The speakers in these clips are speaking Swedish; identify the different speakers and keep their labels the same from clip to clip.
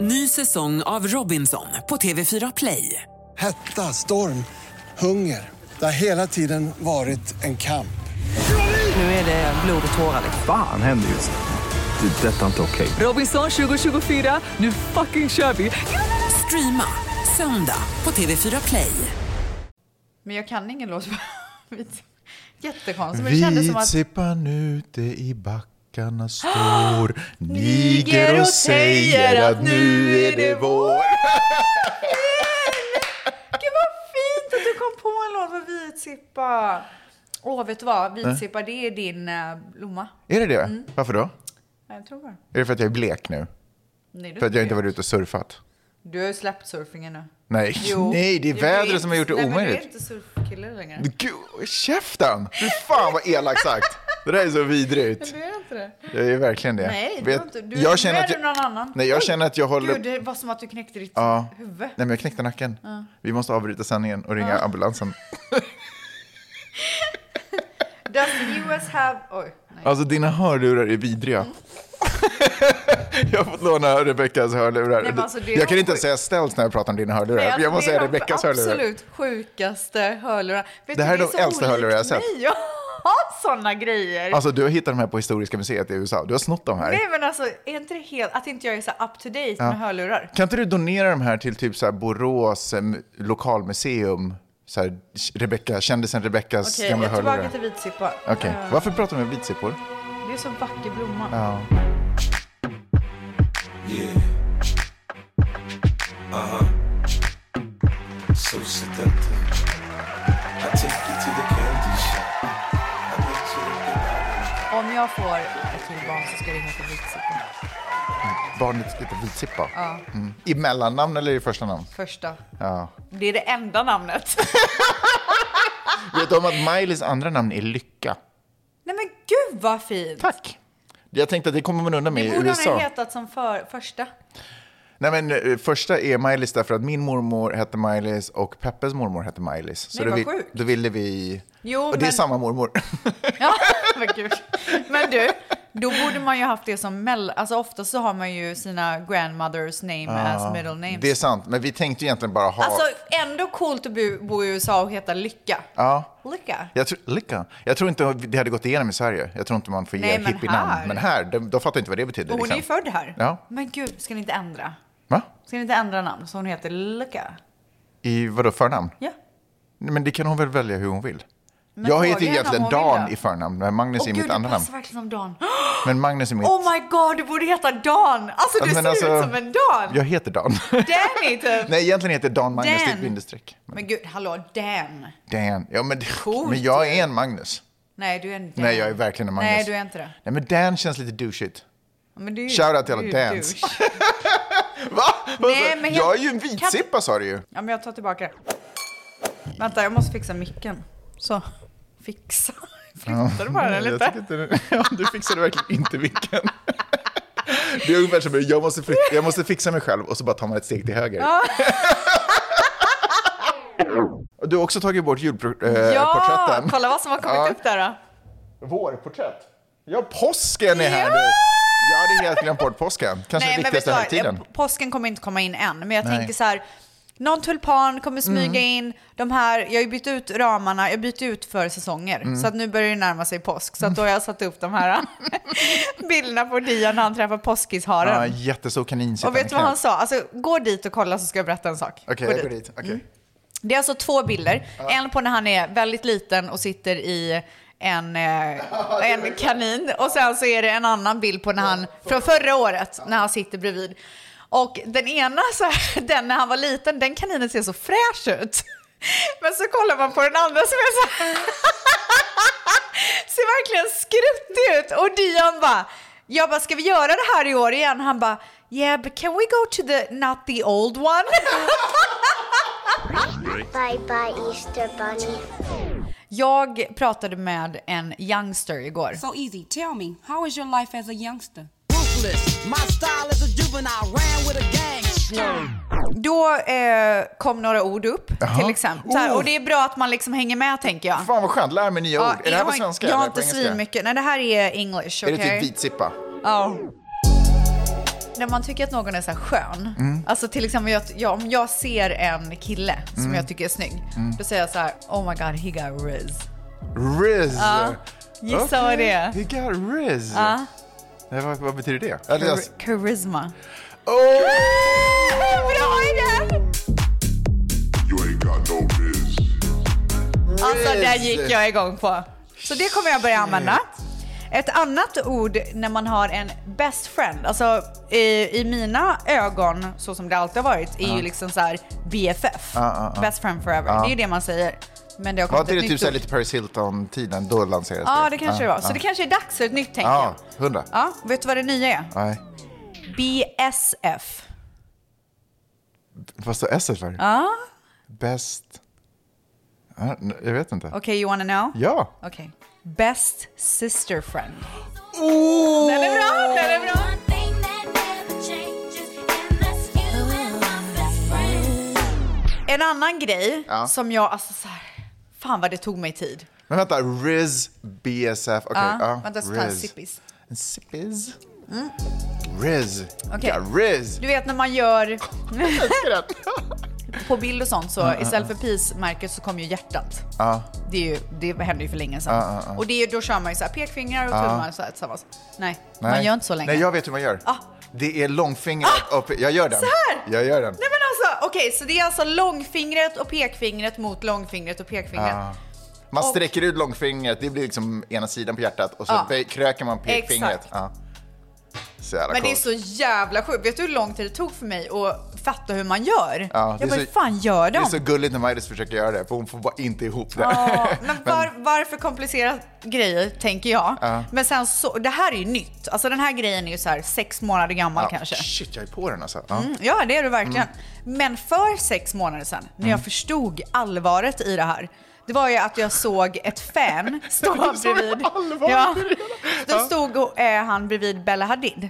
Speaker 1: Ny säsong av Robinson på TV4 Play.
Speaker 2: Hetta, storm, hunger. Det har hela tiden varit en kamp.
Speaker 1: Nu är det blod och tårar.
Speaker 3: Fan händer just nu. Det. är Detta är inte okej.
Speaker 1: Robinson 2024, nu fucking kör vi! Streama söndag på TV4 Play.
Speaker 4: Men jag kan ingen låt. Jättekonstigt. Men det kändes som att...
Speaker 5: Vitsippan ute i backarna står Niger och säger att nu är det vår
Speaker 4: Gud vad fint att du kom på en låt med vitsippa. Åh, vet du vad?
Speaker 5: Äh?
Speaker 4: Vitsippa, det är din eh, blomma.
Speaker 5: Är det det?
Speaker 4: Mm.
Speaker 5: Varför då?
Speaker 4: Nej, Jag tror bara.
Speaker 5: Är det för att jag är blek nu?
Speaker 4: Nej, du
Speaker 5: För att jag inte
Speaker 4: var...
Speaker 5: varit ute och surfat?
Speaker 4: Du har ju släppt surfingen nu.
Speaker 5: Nej,
Speaker 4: Jo.
Speaker 5: Nej det är
Speaker 4: Du
Speaker 5: vädret som har gjort det
Speaker 4: Nej, men du är
Speaker 5: omöjligt.
Speaker 4: inte surfkille längre.
Speaker 5: Gud, käften! Fy fan vad elakt sagt. Det där är så vidrigt.
Speaker 4: Du är inte det.
Speaker 5: Jag är verkligen det.
Speaker 4: Nej, det
Speaker 5: Vet-
Speaker 4: var inte- du- nu
Speaker 5: jag känner
Speaker 4: är
Speaker 5: att
Speaker 4: du
Speaker 5: jag,
Speaker 4: någon annan.
Speaker 5: Nej, jag
Speaker 4: Oj,
Speaker 5: känner att jag håller...
Speaker 4: Gud, det var som att du knäckte ditt
Speaker 5: Ja.
Speaker 4: huvud.
Speaker 5: Nej, men jag knäckte nacken. Vi måste avbryta sändningen och ringa ambulansen.
Speaker 4: Does US have... Oj, nej.
Speaker 5: Alltså dina hörlurar är vidriga.
Speaker 4: Mm.
Speaker 5: jag har fått låna Rebeckas hörlurar.
Speaker 4: Nej, men alltså, det är
Speaker 5: jag kan inte
Speaker 4: sjukt.
Speaker 5: säga ställs när jag pratar om dina hörlurar.
Speaker 4: Nej, alltså,
Speaker 5: jag måste
Speaker 4: det är
Speaker 5: säga
Speaker 4: de
Speaker 5: Rebeckas hörlurar.
Speaker 4: Absolut sjukaste hörlurar. Vet
Speaker 5: Det här
Speaker 4: du,
Speaker 5: är de
Speaker 4: så
Speaker 5: äldsta hörlurar jag har
Speaker 4: olikt
Speaker 5: sett.
Speaker 4: mig. Jag har sådana grejer.
Speaker 5: Alltså du har hittat de här på Historiska museet i USA. Du har snott de här.
Speaker 4: Nej men alltså, är inte det helt... Att inte jag är så up to date med hörlurar.
Speaker 5: Kan inte du donera de här till typ så här Borås eh, lokalmuseum? Så här, Rebecca, kändisen Rebeckas
Speaker 4: Okej, jag
Speaker 5: gamla
Speaker 4: är tillbaka
Speaker 5: hörlurar.
Speaker 4: till vitsippa.
Speaker 5: Okej,
Speaker 4: Eh,
Speaker 5: varför pratar vi om vitsippor?
Speaker 4: Det är så vacker blomma.
Speaker 5: Ja.
Speaker 6: So seductive. I take you to the candy shop. I make you look at
Speaker 4: Om jag får ett till barn så ska det heta vitsippa.
Speaker 5: Barnet ska heta vitsippa. Mm. I mellannamn eller i första namn?
Speaker 4: Första.
Speaker 5: Ja.
Speaker 4: Det är det enda namnet.
Speaker 5: Vet du om att Miley's andra namn är Lycka?
Speaker 4: Nej men gud vad fint!
Speaker 5: Tack. Jag tänkte att det kommer man undan med
Speaker 4: Det
Speaker 5: i
Speaker 4: borde hon
Speaker 5: USA.
Speaker 4: ha hetat som för, första.
Speaker 5: Nej, men, eh, första är Miley's därför att min mormor hette Miley's och Peppes mormor hette Miley's. Så
Speaker 4: Nej,
Speaker 5: då,
Speaker 4: vad
Speaker 5: vi-
Speaker 4: sjukt.
Speaker 5: då ville vi...
Speaker 4: Jo,
Speaker 5: och det är
Speaker 4: men-
Speaker 5: samma mormor.
Speaker 4: Ja, men gud. Men du, då borde man ju haft det som mell... Alltså ofta så har man ju sina grandmothers name as middle names.
Speaker 5: det är sant, men vi tänkte ju egentligen bara ha...
Speaker 4: Alltså ändå coolt att bo, bo i USA och heta Lycka.
Speaker 5: Ja.
Speaker 4: Lycka.
Speaker 5: Jag tror, lycka. Jag tror inte det hade gått igenom i Sverige. Jag tror inte man får ge
Speaker 4: Nej, men
Speaker 5: hippienamn.
Speaker 4: här.
Speaker 5: Men här, de, de fattar inte vad det betyder.
Speaker 4: Och hon är ju
Speaker 5: liksom.
Speaker 4: född här.
Speaker 5: Ja.
Speaker 4: Men gud, ska ni inte ändra?
Speaker 5: Va?
Speaker 4: Ska ni inte ändra namn så hon heter Lycka?
Speaker 5: I vadå, förnamn?
Speaker 4: Ja.
Speaker 5: Nej, Men det kan hon väl välja hur hon vill?
Speaker 4: Men
Speaker 5: jag
Speaker 4: fråga
Speaker 5: heter ju
Speaker 4: henne om
Speaker 5: egentligen
Speaker 4: hon vill
Speaker 5: Dan
Speaker 4: det.
Speaker 5: i förnamn, men Magnus
Speaker 4: Åh
Speaker 5: är
Speaker 4: gud,
Speaker 5: mitt
Speaker 4: du
Speaker 5: andra namn.
Speaker 4: passar verkligen som Dan.
Speaker 5: Men Magnus är mitt...
Speaker 4: Oh my god, du borde heta Dan! Alltså du
Speaker 5: Men
Speaker 4: ser
Speaker 5: alltså,
Speaker 4: ut som en Dan!
Speaker 5: Jag heter Dan.
Speaker 4: Danny typ!
Speaker 5: Nej, egentligen heter Dan Magnus, det är ett
Speaker 4: Dan.
Speaker 5: bindestreck. Men
Speaker 4: Men gud, hallå, Dan!
Speaker 5: Dan. Ja, men,
Speaker 4: Coolt
Speaker 5: men jag är en Magnus.
Speaker 4: Nej, du är en Dan.
Speaker 5: Nej, jag är verkligen en Magnus.
Speaker 4: Nej, du är inte det.
Speaker 5: Nej, men Dan känns lite douchigt.
Speaker 4: Men du är ju-
Speaker 5: Shout out till alla
Speaker 4: du är ju
Speaker 5: dans.
Speaker 4: douche.
Speaker 5: Va?
Speaker 4: Nej, men jag-
Speaker 5: Alltså, jag är ju en vitsippa sa du ju.
Speaker 4: Ja, men jag tar tillbaka det. Vänta, jag måste fixa micken. Så. Fixa. Flyttar du bara den
Speaker 5: Jag
Speaker 4: lite?
Speaker 5: tycker inte det. Ja, du fixade verkligen inte vinkeln. Det är ungefär som jag måste, fly- jag måste fixa mig själv och så bara tar man ett steg till höger. Och Du har också tagit bort eh, julporträtten.
Speaker 4: Ja, kolla vad som har kommit
Speaker 5: Ja.
Speaker 4: upp där då.
Speaker 5: Vårporträtt. Ja, påsken är här nu. Jag hade helt glömt bort påsken. Kanske
Speaker 4: vet
Speaker 5: den
Speaker 4: du
Speaker 5: viktigaste
Speaker 4: vad?
Speaker 5: högtiden.
Speaker 4: Eh, Påsken kommer inte komma in än, men jag
Speaker 5: Nej. Mm.
Speaker 4: tänker så här. Någon tulpan kommer smyga in. De här, jag har ju bytt ut ramarna, jag har bytt ut för säsonger.
Speaker 5: Mm.
Speaker 4: Så att nu börjar det närma sig påsk. Så att då har jag satt upp de här bilderna på Dion när han träffar
Speaker 5: Ja,
Speaker 4: påskisharen.
Speaker 5: jättestor kanin sitter
Speaker 4: och vet du vad han sa? Alltså, gå dit och kolla så ska jag berätta en sak.
Speaker 5: Okej,
Speaker 4: Gå
Speaker 5: jag går
Speaker 4: dit.
Speaker 5: dit. Okej.
Speaker 4: Det är alltså två bilder. En på när han är väldigt liten och sitter i en, eh, en kanin. Och sen så är det en annan bild på när han, från förra året, när han sitter bredvid. Och den ena, så här, den när han var liten, den kaninen ser så fräsch ut. Men så kollar man på den andra som är så här, ser verkligen skruttig ut. Och Dion bara, jag bara, ska vi göra det här i år igen? Han bara, yeah but can we go to the, not the old one?
Speaker 7: Bye bye, Easter Bunny.
Speaker 4: Jag pratade med en youngster igår.
Speaker 8: So easy. Tell me, how is your life as a youngster?
Speaker 9: ruthless. My style is a juvenile, ran with a gang.
Speaker 4: Då eh, kom några ord upp,
Speaker 5: Jaha.
Speaker 4: till exempel. Så här,
Speaker 5: Oh.
Speaker 4: och det är bra att man liksom hänger med, tänker jag.
Speaker 5: Fan vad skönt, lär mig nya
Speaker 4: Ja,
Speaker 5: ord. Är det här på
Speaker 4: jag har-
Speaker 5: svenska
Speaker 4: Jag har
Speaker 5: eller på
Speaker 4: inte
Speaker 5: engelska? typ
Speaker 4: svinmycket. Nej, det här är English.
Speaker 5: Är det
Speaker 4: okej?
Speaker 5: typ vitsippa?
Speaker 4: Ja. när man tycker att någon är så här skön,
Speaker 5: Mm.
Speaker 4: alltså till exempel jag, jag, om jag ser en kille som
Speaker 5: Mm.
Speaker 4: jag tycker är snygg, då säger jag så här, oh my god, he got riz.
Speaker 5: Riz!
Speaker 4: Gissa vad det är.
Speaker 5: He got Riz.
Speaker 4: Ja.
Speaker 5: Nej, vad, vad betyder det? Eller, alltså,
Speaker 4: Charisma.
Speaker 5: oh!
Speaker 4: Bra idé!
Speaker 5: Oh,
Speaker 4: Alltså där gick jag igång på. Så det kommer jag börja använda. Ett annat ord när man har en best friend, alltså i, i mina ögon, så som det alltid har varit, är
Speaker 5: Uh-huh.
Speaker 4: ju liksom så här BFF.
Speaker 5: Ah,
Speaker 4: Best friend forever. Det är ju det man säger. Men det har
Speaker 5: Var
Speaker 4: kommit
Speaker 5: inte det
Speaker 4: ett
Speaker 5: typ
Speaker 4: nytt
Speaker 5: såhär
Speaker 4: ord.
Speaker 5: lite Ah, Paris Hilton-tiden? Då lanserades
Speaker 4: Ja, det kanske det var.
Speaker 5: Ja,
Speaker 4: Så det kanske är dags för ett nytt, tänker
Speaker 5: Ja,
Speaker 4: jag.
Speaker 5: hundra.
Speaker 4: Ja, vet du vad det nya är?
Speaker 5: Nej.
Speaker 4: BSF.
Speaker 5: Vad står S för? Ja. Bäst... Ja, n- jag vet inte.
Speaker 4: Okej, you wanna know?
Speaker 5: Ja.
Speaker 4: Okej. Best sister friend.
Speaker 5: Oh!
Speaker 4: Den är bra, den är bra. En annan grej
Speaker 5: Ja.
Speaker 4: som jag, alltså så här, fan vad det tog mig tid.
Speaker 5: Men vänta, Riz BSF. Okej,
Speaker 4: Ja,
Speaker 5: ja.
Speaker 4: vänta, jag ska ta en
Speaker 5: Riz.
Speaker 4: sippis.
Speaker 5: En sippis? Riz.
Speaker 4: Mm. Okej.
Speaker 5: Ja, Riz.
Speaker 4: Du vet när man gör... på bild och sånt så istället för peace-märket så kommer ju hjärtat. Det, är ju, det hände ju för länge sedan. Och det är, ju- då kör man ju så här pekfingrar och tummar så här tillsammans. Nej, man gör inte så länge.
Speaker 5: Nej, jag vet hur man gör.
Speaker 4: Ah.
Speaker 5: Det är långfingret upp. Jag gör den.
Speaker 4: Så här!
Speaker 5: Jag gör den.
Speaker 4: Nej men alltså, okej så det är alltså långfingret och pekfingret mot långfingret och pekfingret.
Speaker 5: Man
Speaker 4: Och-
Speaker 5: sträcker ut långfingret, det blir liksom ena sidan på hjärtat och så
Speaker 4: Ja.
Speaker 5: be- kröker man pekfingret.
Speaker 4: Exakt.
Speaker 5: Ja. Så jävla
Speaker 4: Men det är
Speaker 5: coolt.
Speaker 4: så jävla sjukt. Vet du hur lång tid det tog för mig att fatta hur man gör?
Speaker 5: Ja, det
Speaker 4: jag bara,
Speaker 5: är så-
Speaker 4: hur fan gör
Speaker 5: Det
Speaker 4: de?
Speaker 5: är så gulligt när Majdis försöker göra det, för hon får bara inte ihop det.
Speaker 4: Ja, men var, varför komplicera grejer, tänker jag. Men sen så, det här är ju nytt. Alltså den här grejen är ju så här sex månader gammal
Speaker 5: Ja,
Speaker 4: kanske.
Speaker 5: Shit, jag är på den alltså. Ja.
Speaker 4: Ja, det är du verkligen.
Speaker 5: Mm.
Speaker 4: Men för sex månader sedan, när jag förstod allvaret i det här, det var ju att jag såg ett fan stå bredvid. Ja, då stod eh, han bredvid Bella Hadid.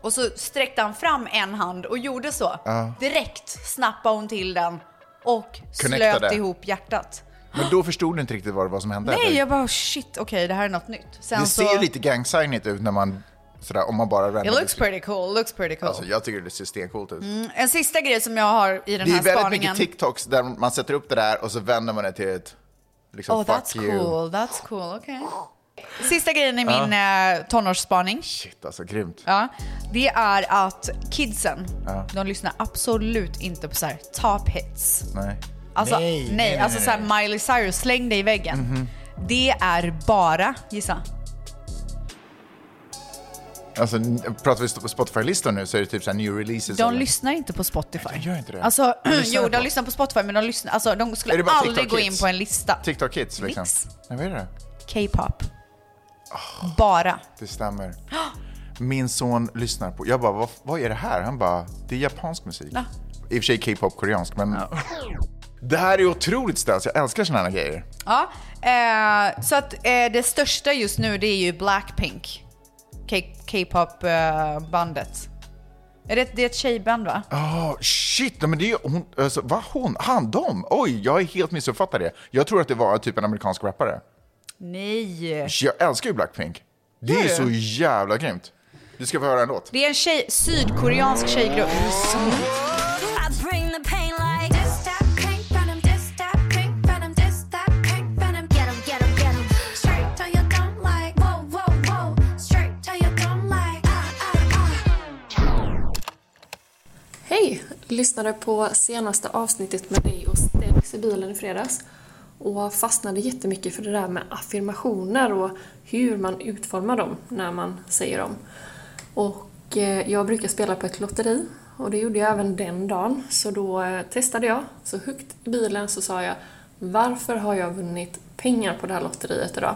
Speaker 4: Och så sträckte han fram en hand och gjorde så. Direkt snappade hon till den och
Speaker 5: Connectade.
Speaker 4: slöt ihop hjärtat.
Speaker 5: Men då förstod du inte riktigt vad det var som hände?
Speaker 4: Nej,
Speaker 5: eller?
Speaker 4: jag bara shit, okej det här är något nytt. Sen
Speaker 5: Det
Speaker 4: så,
Speaker 5: ser lite gangsignigt ut när man, sådär, om man bara
Speaker 4: It
Speaker 5: random-
Speaker 4: looks Mm. pretty cool, looks pretty cool.
Speaker 5: Alltså, jag tycker det ser stencoolt ut.
Speaker 4: en sista grej som jag har i den
Speaker 5: Det är
Speaker 4: här
Speaker 5: väldigt
Speaker 4: spaningen.
Speaker 5: mycket TikToks där man sätter upp det där och så vänder man det till ett liksom,
Speaker 4: Oh,
Speaker 5: fuck
Speaker 4: that's
Speaker 5: you.
Speaker 4: cool, that's cool, okej. Sista grejen i min eh, tonårsspaning,
Speaker 5: Shit alltså, grymt.
Speaker 4: ja, det är att kidsen, de lyssnar absolut inte på så här top hits.
Speaker 5: Nej.
Speaker 4: Alltså, nej, alltså så här Miley Cyrus, släng dig i väggen.
Speaker 5: Mhm.
Speaker 4: Det är bara, gissa.
Speaker 5: Alltså, n- pratar vi på Spotify-listan nu så är det typ såhär new releases.
Speaker 4: De
Speaker 5: eller?
Speaker 4: lyssnar inte på Spotify.
Speaker 5: de gör inte det.
Speaker 4: Alltså,
Speaker 5: De lyssnar
Speaker 4: jo,
Speaker 5: på-
Speaker 4: de lyssnar på Spotify, men de, lyssnar, alltså, de
Speaker 5: Är det
Speaker 4: skulle
Speaker 5: bara
Speaker 4: aldrig
Speaker 5: TikTok
Speaker 4: gå in
Speaker 5: Kids?
Speaker 4: på en lista.
Speaker 5: TikTok hits liksom.
Speaker 4: Mix.
Speaker 5: Nej, vad är det?
Speaker 4: K-pop.
Speaker 5: Ah.
Speaker 4: Bara.
Speaker 5: Det stämmer. Min son lyssnar på, jag bara, vad, vad är det här? Han bara, det är japansk musik.
Speaker 4: Ja.
Speaker 5: I och för sig K-pop koreansk, men det här är otroligt ställt. Jag älskar såna här grejer.
Speaker 4: Ja. Eh, så att eh, det största just nu det är ju Blackpink. K- K-pop-bandet. Är det, det är ett tjejband va?
Speaker 5: Ja, Ah, shit, nej, men det är ju hon, alltså, va, hon, han, dem? Oj, jag är helt missuppfattat det. Jag tror att det var typ en amerikansk rappare.
Speaker 4: Nej.
Speaker 5: Jag älskar ju Blackpink. Det är ju så jävla grymt. Du ska få höra en låt.
Speaker 4: Det är en tjej, sydkoreansk tjejgrupp.
Speaker 10: Hej! Lyssnade på senaste avsnittet med dig och Stenix i bilen i fredags och fastnade jättemycket för det där med affirmationer och hur man utformar dem när man säger dem. Och eh, jag brukar spela på ett lotteri och det gjorde jag även den dagen så då eh, testade jag. Så högt i bilen så sa jag Varför har jag vunnit pengar på det här lotteriet idag?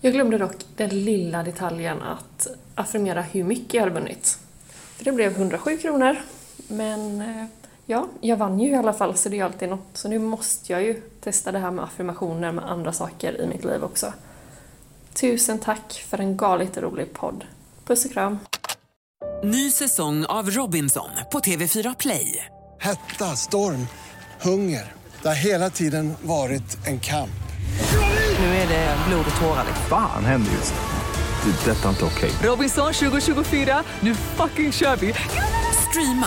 Speaker 10: Jag glömde dock den lilla detaljen att affirmera hur mycket jag hade vunnit. För det blev 107 kronor. Men eh, ja, jag vann ju i alla fall så det är ju alltid något. Så nu måste jag ju testa det här med affirmationer med andra saker i mitt liv också. Tusen tack för en galet rolig podd. Puss och kram!
Speaker 1: Ny säsong av Robinson på TV4 Play.
Speaker 2: Hetta, storm, hunger. Det har hela tiden varit en kamp.
Speaker 1: Nu är det blod och tårar.
Speaker 3: Fan händer just det. Det är detta inte okej.
Speaker 1: Robinson 2024, nu fucking kör vi! Streama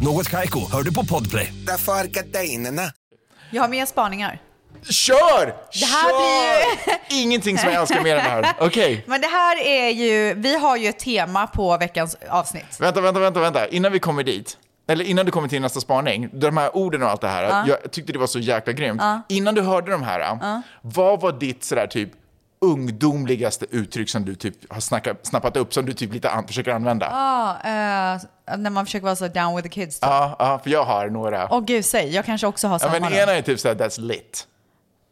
Speaker 11: Något Kaiko, hör du på Podplay.
Speaker 12: Därför är gardinerna.
Speaker 4: Jag har mer spaningar.
Speaker 5: Kör!
Speaker 4: Det här
Speaker 5: Kör!
Speaker 4: blir
Speaker 5: Ingenting som jag älskar mer än det här. Okej.
Speaker 4: Men det här är ju, vi har ju ett tema på veckans avsnitt.
Speaker 5: Vänta, vänta, vänta, vänta. Innan vi kommer dit. Eller innan du kommer till nästa spaning, de här orden och allt det här, jag tyckte det var så jäkla grymt. Innan du hörde de här, vad var ditt sådär typ ungdomligaste uttryck som du typ har snacka, snappat upp, som du typ lite an, försöker använda? Ja,
Speaker 4: Ja, eh, när man försöker vara så down with the kids. Åh
Speaker 5: ja, för jag har några.
Speaker 4: gud, säg, jag kanske också har
Speaker 5: ja,
Speaker 4: samma.
Speaker 5: men
Speaker 4: då.
Speaker 5: ena är typ såhär, that's lit.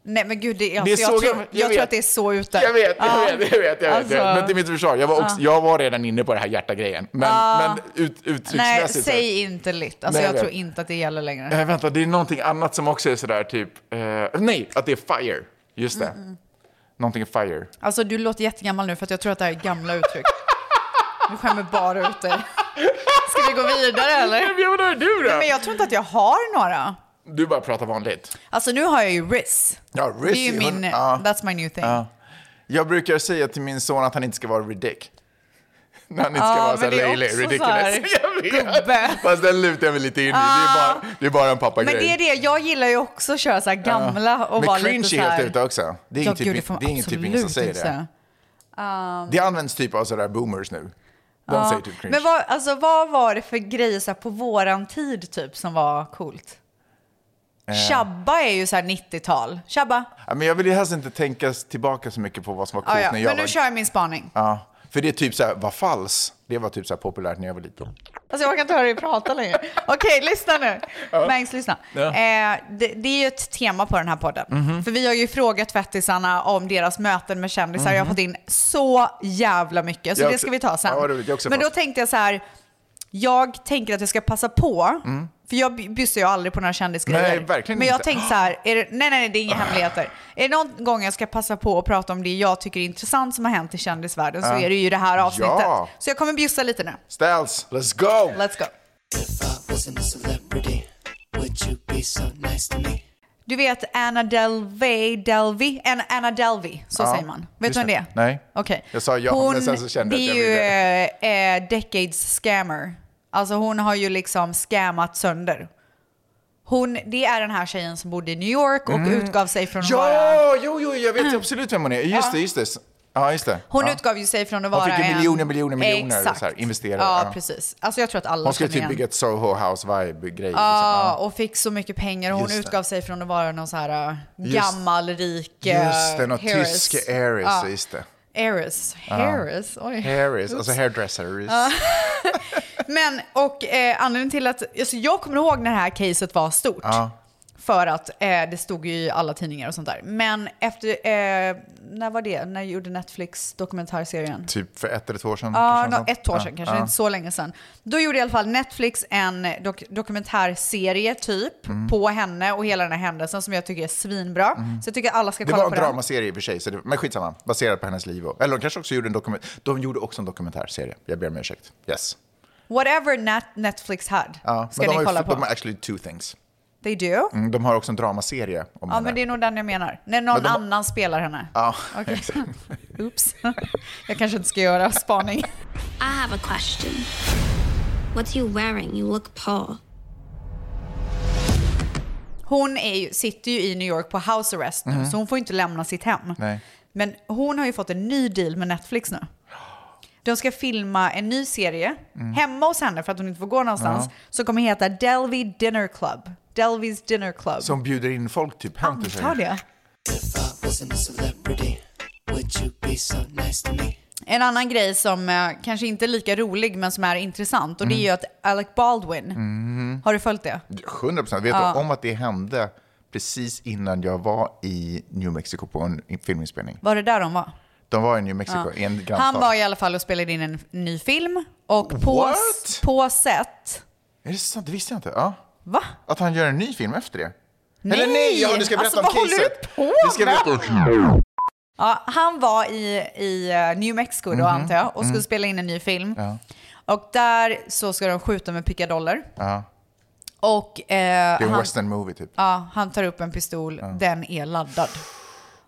Speaker 4: Nej men gud, det,
Speaker 5: Det
Speaker 4: alltså, jag,
Speaker 5: såg jag-
Speaker 4: tror,
Speaker 5: jag
Speaker 4: jag tror
Speaker 5: vet.
Speaker 4: att det är så ute.
Speaker 5: Jag vet, jag
Speaker 4: Ja.
Speaker 5: vet, jag vet, jag vet.
Speaker 4: Alltså-
Speaker 5: Men till mitt försvar, jag var, också, jag var redan inne på det här hjärtagrejen. Men, men ut, uttrycksmässigt.
Speaker 4: Nej,
Speaker 5: så-
Speaker 4: säg inte lit. Alltså,
Speaker 5: Nej, jag
Speaker 4: jag
Speaker 5: vet.
Speaker 4: tror inte att det gäller längre.
Speaker 5: Eh, vänta, det är någonting annat som också är sådär typ... Eh, nej, att det är fire. Just det. Någonting är fire.
Speaker 4: Alltså du låter jättegammal nu för att jag tror att det här är gamla uttryck. Du skämmer bara ut dig. Ska vi gå vidare eller?
Speaker 5: Men vad är du då?
Speaker 4: Men jag tror inte att jag har några.
Speaker 5: Du bara pratar vanligt.
Speaker 4: Alltså nu har jag ju Riz.
Speaker 5: Ja,
Speaker 4: Det är ju min,
Speaker 5: ja.
Speaker 4: that's my new thing.
Speaker 5: Jag brukar säga till min son att han inte ska vara ridic. När han inte
Speaker 4: Ja,
Speaker 5: ska vara
Speaker 4: men
Speaker 5: så här
Speaker 4: det är
Speaker 5: löjlig,
Speaker 4: också så
Speaker 5: ridiculous.
Speaker 4: här,
Speaker 5: Jag
Speaker 4: gubbe.
Speaker 5: vet. Fast den lutar jag mig lite in i. Det, är bara, det är bara en pappagrej.
Speaker 4: Men det är det, jag gillar ju också att köra så här gamla och
Speaker 5: Men
Speaker 4: vara
Speaker 5: cringe
Speaker 4: lite så
Speaker 5: är
Speaker 4: här.
Speaker 5: helt ute också. Det är
Speaker 4: Ja,
Speaker 5: ingen
Speaker 4: gud,
Speaker 5: typ,
Speaker 4: får man
Speaker 5: det är ingen typ ingen
Speaker 4: absolut
Speaker 5: som säger
Speaker 4: inte
Speaker 5: det.
Speaker 4: säga.
Speaker 5: Det används typ av sådär boomers nu. De säger typ cringe.
Speaker 4: Men vad, alltså, vad var det för grejer så här, på våran tid typ som var coolt?
Speaker 5: Eh.
Speaker 4: Tjabba är ju så här 90-tal. Tjabba.
Speaker 5: Ja, men jag vill ju helst inte tänka tillbaka så mycket på vad som var coolt
Speaker 4: Ah, ja.
Speaker 5: när jag
Speaker 4: Men
Speaker 5: var...
Speaker 4: nu kör jag min spaning.
Speaker 5: Ja, för det är typ så här, vad fals? Det var typ så här populärt när jag var liten.
Speaker 4: Alltså jag kan inte höra dig prata längre. Okej, lyssna nu. Mangs, lyssna.
Speaker 5: Ja. Mhm.
Speaker 4: Eh, det, det är ju ett tema på den här podden. För vi har ju frågat tvättisarna om deras möten med kändisar. Jag har fått in så jävla mycket, så
Speaker 5: Mhm. Jag
Speaker 4: det
Speaker 5: också-
Speaker 4: ska vi ta sen.
Speaker 5: Ja, det vet jag också
Speaker 4: Men då
Speaker 5: fast.
Speaker 4: tänkte jag så här, jag tänker att jag ska passa på, för jag b- bjussar ju aldrig på några kändisgrejer.
Speaker 5: Mm. Nej, verkligen
Speaker 4: Men jag
Speaker 5: inte. Ah.
Speaker 4: tänkte så här, är det, nej, nej, nej, det är inga hemligheter. Är det någon gång jag ska passa på att prata om det jag tycker är intressant som har hänt i kändisvärlden så är det ju det här avsnittet.
Speaker 5: Ah. Ja.
Speaker 4: Så jag kommer bjussa lite nu.
Speaker 5: Ställs, let's go!
Speaker 4: Let's go. Du vet Anna Delvey, Delvey, Anna, Anna Delvey, så
Speaker 5: Ja,
Speaker 4: säger man. Vet
Speaker 5: just
Speaker 4: du vem det är?
Speaker 5: det. Nej.
Speaker 4: Okej.
Speaker 5: Jag sa ja,
Speaker 4: Hon-
Speaker 5: men sen så kände jag
Speaker 4: Det
Speaker 5: att
Speaker 4: är
Speaker 5: jag
Speaker 4: ju eh, eh, decades scammer. Alltså hon har ju liksom scammat sönder. Hon, det är den här tjejen som bodde i New York och utgav sig från att vara...
Speaker 5: Mm. Ja, jo, jo, jag vet absolut vem hon är. Just det, just det. Ja, just det.
Speaker 4: Hon
Speaker 5: ja.
Speaker 4: utgav ju sig från att
Speaker 5: Hon
Speaker 4: vara
Speaker 5: fick ju
Speaker 4: en...
Speaker 5: miljoner, miljoner, miljoner
Speaker 4: Exakt.
Speaker 5: så här, investerare,
Speaker 4: Ja,
Speaker 5: ja.
Speaker 4: precis. Alltså jag tror att alla
Speaker 5: Hon skulle
Speaker 4: känner
Speaker 5: typ
Speaker 4: igen.
Speaker 5: bygga ett Soho House-vibe-grej.
Speaker 4: Ja,
Speaker 5: liksom.
Speaker 4: och fick så mycket pengar. Hon
Speaker 5: Just det.
Speaker 4: utgav sig från att vara någon så här äh,
Speaker 5: Just-
Speaker 4: gammal, rik
Speaker 5: Ja.
Speaker 4: äh,
Speaker 5: Just det, något
Speaker 4: heiress.
Speaker 5: tysk Aries,
Speaker 4: Ja.
Speaker 5: just det.
Speaker 4: Heiress. Heiress. Oj.
Speaker 5: Harris, alltså hairdresser.
Speaker 4: Ah. Men, och eh, anledningen till att... Alltså, jag kommer ihåg när det här caset var stort. För att eh, det stod ju i alla tidningar och sånt där. Men efter... Eh, när var det? När gjorde Netflix dokumentärserien?
Speaker 5: Typ för ett eller två år sedan.
Speaker 4: Ja,
Speaker 5: kanske
Speaker 4: Ah, nå-
Speaker 5: något sånt.
Speaker 4: ett år
Speaker 5: Ja,
Speaker 4: sedan, kanske
Speaker 5: ja.
Speaker 4: inte så länge sedan. Då gjorde i alla fall Netflix en dok- dokumentärserie typ
Speaker 5: Mm.
Speaker 4: på henne och hela den här händelsen som jag tycker är svinbra. Så jag tycker att alla ska
Speaker 5: Det
Speaker 4: kolla
Speaker 5: var en
Speaker 4: på den.
Speaker 5: dramaserie i och för sig, så det, men skitsamma. Baserat på hennes liv. Och, eller de kanske också gjorde en dokument, de gjorde också en dokumentärserie. Jag ber om ursäkt. Yes.
Speaker 4: Whatever Nat- Netflix had
Speaker 5: Ja,
Speaker 4: ska ni
Speaker 5: men de har, ju-
Speaker 4: kolla på.
Speaker 5: De har actually two things.
Speaker 4: They do?
Speaker 5: Mm, De har också en dramaserie om
Speaker 4: Ja,
Speaker 5: henne.
Speaker 4: men det är nog den jag menar. När någon
Speaker 5: Men de har-
Speaker 4: annan spelar henne.
Speaker 5: Ja,
Speaker 4: Okej.
Speaker 5: exakt.
Speaker 4: Oops. jag kanske inte ska göra spaning.
Speaker 13: I have a question. What are you wearing? You look poor.
Speaker 4: Hon är ju, sitter ju i New York på house arrest nu, så hon får inte lämna sitt hem.
Speaker 5: Nej.
Speaker 4: Men hon har ju fått en ny deal med Netflix nu. De ska filma en ny serie hemma hos henne för att hon inte får gå någonstans. Som kommer heta Delvey Dinner Club. Delveys Dinner Club.
Speaker 5: Som bjuder in folk typ hem till sig.
Speaker 4: Antar det. En annan grej som eh, kanske inte är lika rolig men som är intressant och det är ju att Alec Baldwin, har du följt det?
Speaker 5: 100 procent. Vet du om att det hände precis innan jag var i New Mexico på en filminspelning?
Speaker 4: Var det där de var?
Speaker 5: De var i New Mexico, i en grannstat.
Speaker 4: Han var i alla fall och spelade in en ny film och på,
Speaker 5: What?
Speaker 4: på set...
Speaker 5: Är det sant? Det visste jag inte. Ja.
Speaker 4: Va?
Speaker 5: Att han gör en ny film efter det.
Speaker 4: Nej!
Speaker 5: Eller nej! Ja, du ska berätta
Speaker 4: Alltså, vad
Speaker 5: om
Speaker 4: håller
Speaker 5: caset.
Speaker 4: du på
Speaker 5: Vi ska
Speaker 4: med?
Speaker 5: berätta om...
Speaker 4: Ja, han var i, i eh, New Mexico då
Speaker 5: Mhm.
Speaker 4: antar jag och skulle
Speaker 5: Mm.
Speaker 4: spela in en ny film.
Speaker 5: Ja.
Speaker 4: Och där så ska de skjuta med pickadoller.
Speaker 5: Ja.
Speaker 4: Och eh,
Speaker 5: Det är en
Speaker 4: han,
Speaker 5: western movie typ.
Speaker 4: ja, han tar upp en pistol, den är laddad.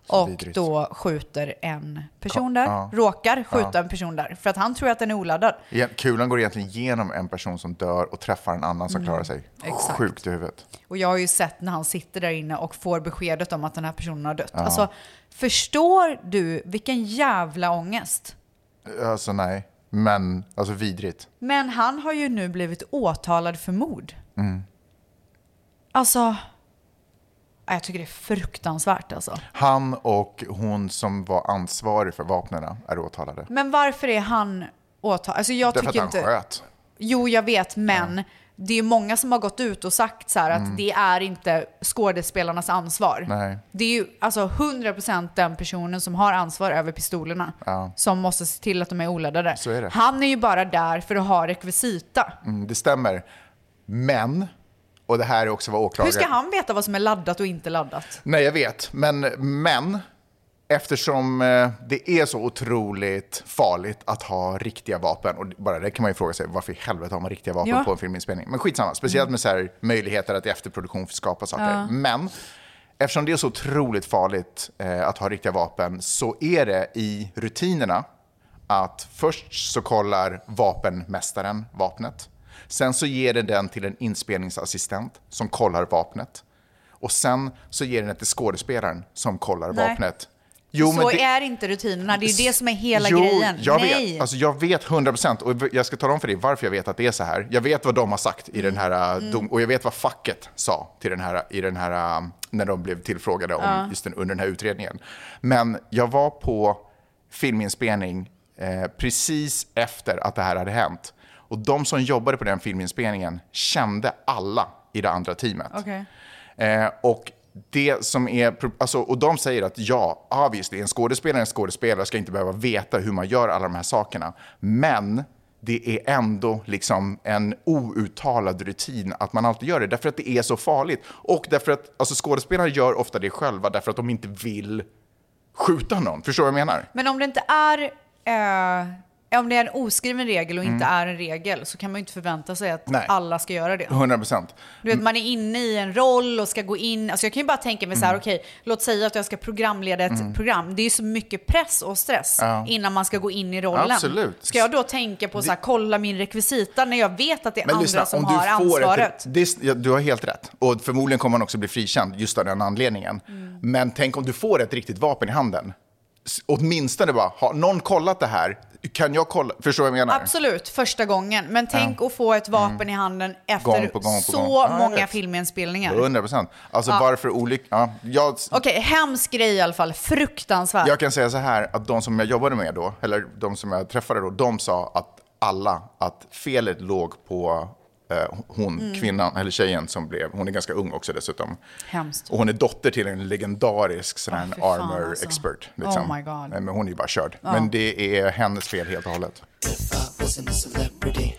Speaker 4: och
Speaker 5: vidrigt.
Speaker 4: då skjuter en person
Speaker 5: Ka-
Speaker 4: där,
Speaker 5: ja.
Speaker 4: råkar skjuta
Speaker 5: Ja.
Speaker 4: en person där. För att han tror att den är oladdad.
Speaker 5: Igen, Kulan går egentligen genom en person som dör och träffar en annan som
Speaker 4: Mm,
Speaker 5: klarar sig.
Speaker 4: exakt.
Speaker 5: Sjukt i huvudet.
Speaker 4: Och jag har ju sett när han sitter där inne och får beskedet om att den här personen har dött.
Speaker 5: Ja.
Speaker 4: Alltså, förstår du vilken jävla ångest?
Speaker 5: Alltså nej, men alltså vidrigt.
Speaker 4: Men han har ju nu blivit åtalad för mord.
Speaker 5: Mm.
Speaker 4: Alltså, ja, jag tycker det är fruktansvärt alltså.
Speaker 5: Han och hon som var ansvarig för vapnen är åtalade.
Speaker 4: Men varför är han åtalad? Alltså jag
Speaker 5: Därför att
Speaker 4: tycker
Speaker 5: han
Speaker 4: inte...
Speaker 5: sköt.
Speaker 4: Jo, jag vet, men det är ju många som har gått ut och sagt så här att
Speaker 5: Mm.
Speaker 4: det är inte skådespelarnas ansvar.
Speaker 5: Nej.
Speaker 4: Det är ju alltså 100% den personen som har ansvar över pistolerna
Speaker 5: Ja.
Speaker 4: som måste se till att de är oladdade.
Speaker 5: Så är det.
Speaker 4: Han är ju bara där för att ha rekvisita.
Speaker 5: Mm, det stämmer. Men, och det här är också vad åklagaren...
Speaker 4: Hur ska han veta vad som är laddat och inte laddat?
Speaker 5: Nej, jag vet. Men, men eftersom eh, det är så otroligt farligt att ha riktiga vapen, och bara det kan man ju fråga sig, varför i helvete har man riktiga vapen
Speaker 14: Ja.
Speaker 5: på en filminspelning? Men skitsamma,
Speaker 4: Mm.
Speaker 5: speciellt med så här, möjligheter att i efterproduktion skapa saker.
Speaker 14: Ja.
Speaker 5: Men eftersom det är så otroligt farligt eh, att ha riktiga vapen så är det i rutinerna att först så kollar vapenmästaren vapnet. Sen så ger den den till en inspelningsassistent som kollar vapnet. Och sen så ger den det till skådespelaren som kollar
Speaker 4: Nej.
Speaker 5: vapnet.
Speaker 4: så är inte rutinerna. Det är ju det som är hela
Speaker 5: jo,
Speaker 4: grejen.
Speaker 5: Jag
Speaker 4: Nej.
Speaker 5: vet, alltså jag vet 100% och jag ska tala om för dig varför jag vet att det är så här. Jag vet vad de har sagt i den här
Speaker 4: Mm.
Speaker 5: mm. dom och jag vet vad facket sa till den här, i den här, äh, när de blev tillfrågade om,
Speaker 14: Ja.
Speaker 5: just den, under den här utredningen. Men jag var på filminspelning eh, precis efter att det här hade hänt. Och de som jobbade på den filminspelningen kände alla i det andra teamet.
Speaker 4: Okej.
Speaker 5: Eh, och det som är, pro- alltså, och de säger att ja, ah, visst, det är en skådespelare, en skådespelare ska inte behöva veta hur man gör alla de här sakerna. Men det är ändå liksom en outtalad rutin att man alltid gör det, därför att det är så farligt. Och därför att alltså, skådespelare gör ofta det själva, därför att de inte vill skjuta någon. Förstår du vad jag menar?
Speaker 4: Men om det inte är... Eh, om det är en oskriven regel och inte
Speaker 5: Mm.
Speaker 4: är en regel så kan man ju inte förvänta sig att
Speaker 5: Nej.
Speaker 4: alla ska göra det.
Speaker 5: 100 procent.
Speaker 4: Du vet, man är inne i en roll och ska gå in. Alltså jag kan ju bara tänka mig så här,
Speaker 5: Mm.
Speaker 4: okej, låt säga att jag ska programleda ett
Speaker 5: Mm.
Speaker 4: program. Det är ju så mycket press och stress
Speaker 5: Ja.
Speaker 4: innan man ska gå in i rollen.
Speaker 5: Absolut.
Speaker 4: Ska jag då tänka på så här, kolla min rekvisita när jag vet att det är andra som har
Speaker 5: ett-
Speaker 4: ansvaret?
Speaker 5: det, är- ja, du har helt rätt. Och förmodligen kommer han också bli frikänd just av den anledningen.
Speaker 4: Mm.
Speaker 5: Men tänk om du får ett riktigt vapen i handen. S- Åtminstone bara, har någon kollat det här? Kan jag kolla? Förstår du vad jag menar?
Speaker 4: Absolut, första gången. Men tänk att få ett vapen i handen efter
Speaker 5: Mm. Gång på gång på
Speaker 4: så
Speaker 5: gång. Ja, jag
Speaker 4: många
Speaker 5: vet.
Speaker 4: filminspelningar.
Speaker 5: 100 procent. Alltså
Speaker 4: Ja.
Speaker 5: varför olyck... Ja, jag,
Speaker 4: Okej, hemsk grej i alla fall. Fruktansvärt.
Speaker 5: jag kan säga så här, att de som jag jobbade med då, eller de som jag träffade då, de sa att alla, att felet låg på eh, hon,
Speaker 4: Mm.
Speaker 5: kvinnan, eller tjejen som blev, hon är ganska ung också dessutom.
Speaker 4: Hemskt.
Speaker 5: Och hon är dotter till en legendarisk sån här
Speaker 4: fy fan,
Speaker 5: armor
Speaker 4: alltså.
Speaker 5: expert.
Speaker 4: Oh
Speaker 5: Liksom.
Speaker 4: my God.
Speaker 5: Nej, Men hon är ju bara körd.
Speaker 4: Ja.
Speaker 5: Men det är hennes fel helt och hållet.
Speaker 15: wasn't a celebrity,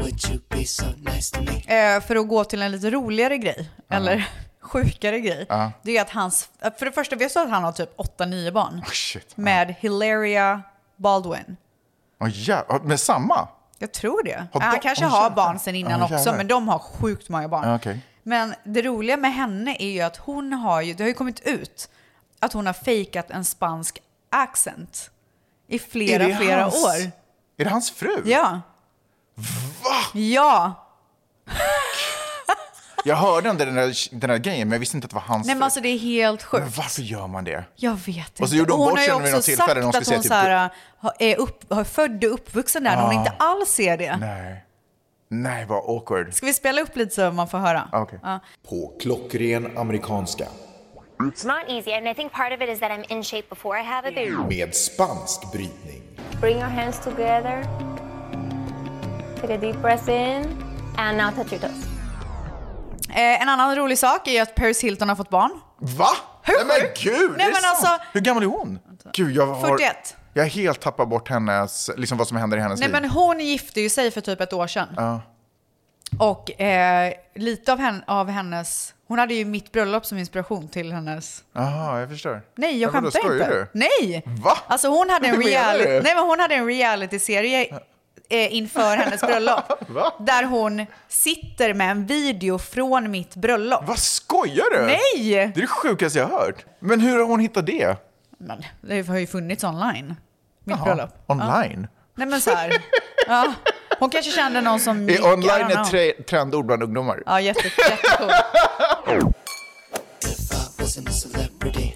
Speaker 15: would you be so nice to me?
Speaker 4: Eh, för att gå till en lite roligare grej, eller sjukare grej.
Speaker 5: Ja.
Speaker 4: Det är att hans, för det första vet du att han har typ 8-9 barn.
Speaker 5: Oh, shit.
Speaker 4: Med Hilaria Baldwin.
Speaker 5: Oh, ja, men samma?
Speaker 4: Jag tror det.
Speaker 5: Har
Speaker 4: han
Speaker 5: de-
Speaker 4: kanske
Speaker 5: åh,
Speaker 4: har
Speaker 5: jävlar.
Speaker 4: barn sen innan
Speaker 5: Ja,
Speaker 4: också,
Speaker 5: jävlar.
Speaker 4: men de har sjukt många barn.
Speaker 5: Ja, okej.
Speaker 4: Men det roliga med henne är ju att hon har ju, det har ju kommit ut att hon har fejkat en spansk accent i
Speaker 5: Är
Speaker 4: flera,
Speaker 5: det
Speaker 4: flera
Speaker 5: hans-
Speaker 4: år.
Speaker 5: Är det hans fru?
Speaker 4: Ja. Va? Ja.
Speaker 5: Jag hörde om den där, den där grejen, men jag visste inte att det var hans
Speaker 4: Nej men
Speaker 5: fru.
Speaker 4: alltså det är helt
Speaker 5: Men
Speaker 4: sjukt.
Speaker 5: varför gör man det?
Speaker 4: Jag vet inte.
Speaker 5: Och så gjorde hon bort
Speaker 4: har ju
Speaker 5: sig vid
Speaker 4: också
Speaker 5: något tillfälle när hon
Speaker 4: sagt att
Speaker 5: skulle
Speaker 4: hon
Speaker 5: säga
Speaker 4: så här, har- är upp, har född och uppvuxen där när hon
Speaker 5: Ah.
Speaker 4: inte alls ser det.
Speaker 5: Nej. Nej, vad awkward.
Speaker 4: Ska vi spela upp lite så man får höra?
Speaker 5: Ah, Okej.
Speaker 4: Ja.
Speaker 5: På klockren amerikanska.
Speaker 16: It's not easy, and I think part of it is that I'm in shape before I have a baby.
Speaker 5: Med spansk brytning.
Speaker 16: Bring your hands together. Take a deep breath in, and now touch your toes.
Speaker 4: Eh, en annan rolig sak är att Paris Hilton har fått barn.
Speaker 5: Va? Hur Nej men gud,
Speaker 4: Nej,
Speaker 5: är det
Speaker 4: men
Speaker 5: sant?
Speaker 4: alltså-
Speaker 5: Hur gammal är hon? Gud, jag har...
Speaker 4: 41.
Speaker 5: Jag har helt tappat bort hennes, liksom vad som händer i hennes
Speaker 4: Nej
Speaker 5: liv.
Speaker 4: men hon gifte ju sig för typ ett år sedan.
Speaker 5: Ja.
Speaker 4: Och eh, lite av, hen, av hennes... Hon hade ju mitt bröllop som inspiration till hennes...
Speaker 5: Jaha, jag förstår.
Speaker 4: Nej, jag
Speaker 5: Men vadå,
Speaker 4: skämtar
Speaker 5: skojar
Speaker 4: inte.
Speaker 5: du?
Speaker 4: Nej!
Speaker 5: Va?
Speaker 4: Alltså hon hade en,
Speaker 5: Vad menar
Speaker 4: reali-
Speaker 5: du?
Speaker 4: Nej, men hon hade en realityserie eh, inför hennes bröllop. Där hon sitter med en video från mitt bröllop.
Speaker 5: Vad skojar du?
Speaker 4: Nej!
Speaker 5: Det är det sjukaste jag har hört. Men hur har hon hittat det?
Speaker 4: Men det har ju funnits online. Mitt
Speaker 5: Jaha,
Speaker 4: bröllop.
Speaker 5: Online?
Speaker 4: Ja. Nej men så här. Ja. Hon kanske kände någon som gick, I
Speaker 5: Är Eh, online
Speaker 4: don't
Speaker 5: ett
Speaker 4: know.
Speaker 5: tre- trendord bland ungdomar?
Speaker 4: Ja, jätte, jättecool.
Speaker 15: Wasn't a celebrity,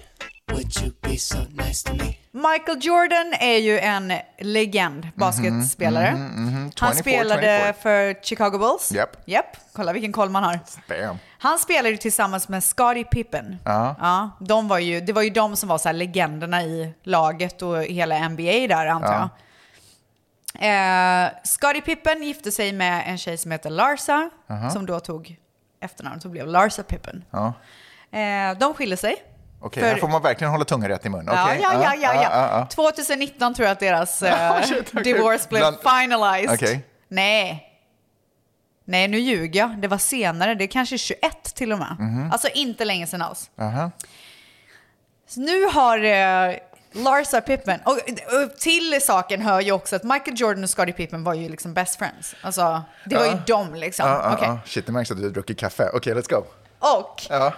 Speaker 15: would you be so nice to me?
Speaker 4: Michael Jordan är ju en legend basketspelare.
Speaker 5: mhm, mhm.
Speaker 4: Han
Speaker 5: 24,
Speaker 4: spelade för Chicago Bulls.
Speaker 5: Japp.
Speaker 4: Japp. Kolla vilken koll man har.
Speaker 5: Damn.
Speaker 4: Han spelade ju tillsammans med Scottie Pippen.
Speaker 5: Ja.
Speaker 4: Ja, de var ju, det var ju de som var så här legenderna i laget och hela NBA där antar
Speaker 5: Ja.
Speaker 4: jag. Eh, Scottie Pippen gifte sig med en tjej som heter Larsa,
Speaker 5: Aha.
Speaker 4: som då tog efternamnet och blev Larsa Pippen.
Speaker 5: Ja.
Speaker 4: Eh, de skiljer sig.
Speaker 5: Okej,
Speaker 4: För-
Speaker 5: här får man verkligen hålla tungan rätt i mun.
Speaker 4: Ja,
Speaker 5: Okej,
Speaker 4: ja, ja, ja, ja.
Speaker 5: ja, ja.
Speaker 4: 2019 tror jag att deras eh,
Speaker 5: shit, okej.
Speaker 4: divorce blev
Speaker 5: Bland-
Speaker 4: finalized.
Speaker 5: Okej.
Speaker 4: Nej. Nej, nu ljuger jag. Det var senare. Det är kanske 21 till och med.
Speaker 5: Mhm.
Speaker 4: Alltså inte länge sedan alls.
Speaker 5: Aha.
Speaker 4: Så nu har eh, Larsa Pippen, och, och till saken hör ju också att Michael Jordan och Scottie Pippen var ju liksom best friends. Alltså, det var ju
Speaker 5: Ja.
Speaker 4: dem liksom.
Speaker 5: Ja, ja,
Speaker 4: Okej.
Speaker 5: ja. Shit, det märks att du har druckit kaffe. Okej, let's go.
Speaker 4: Och
Speaker 5: Ja.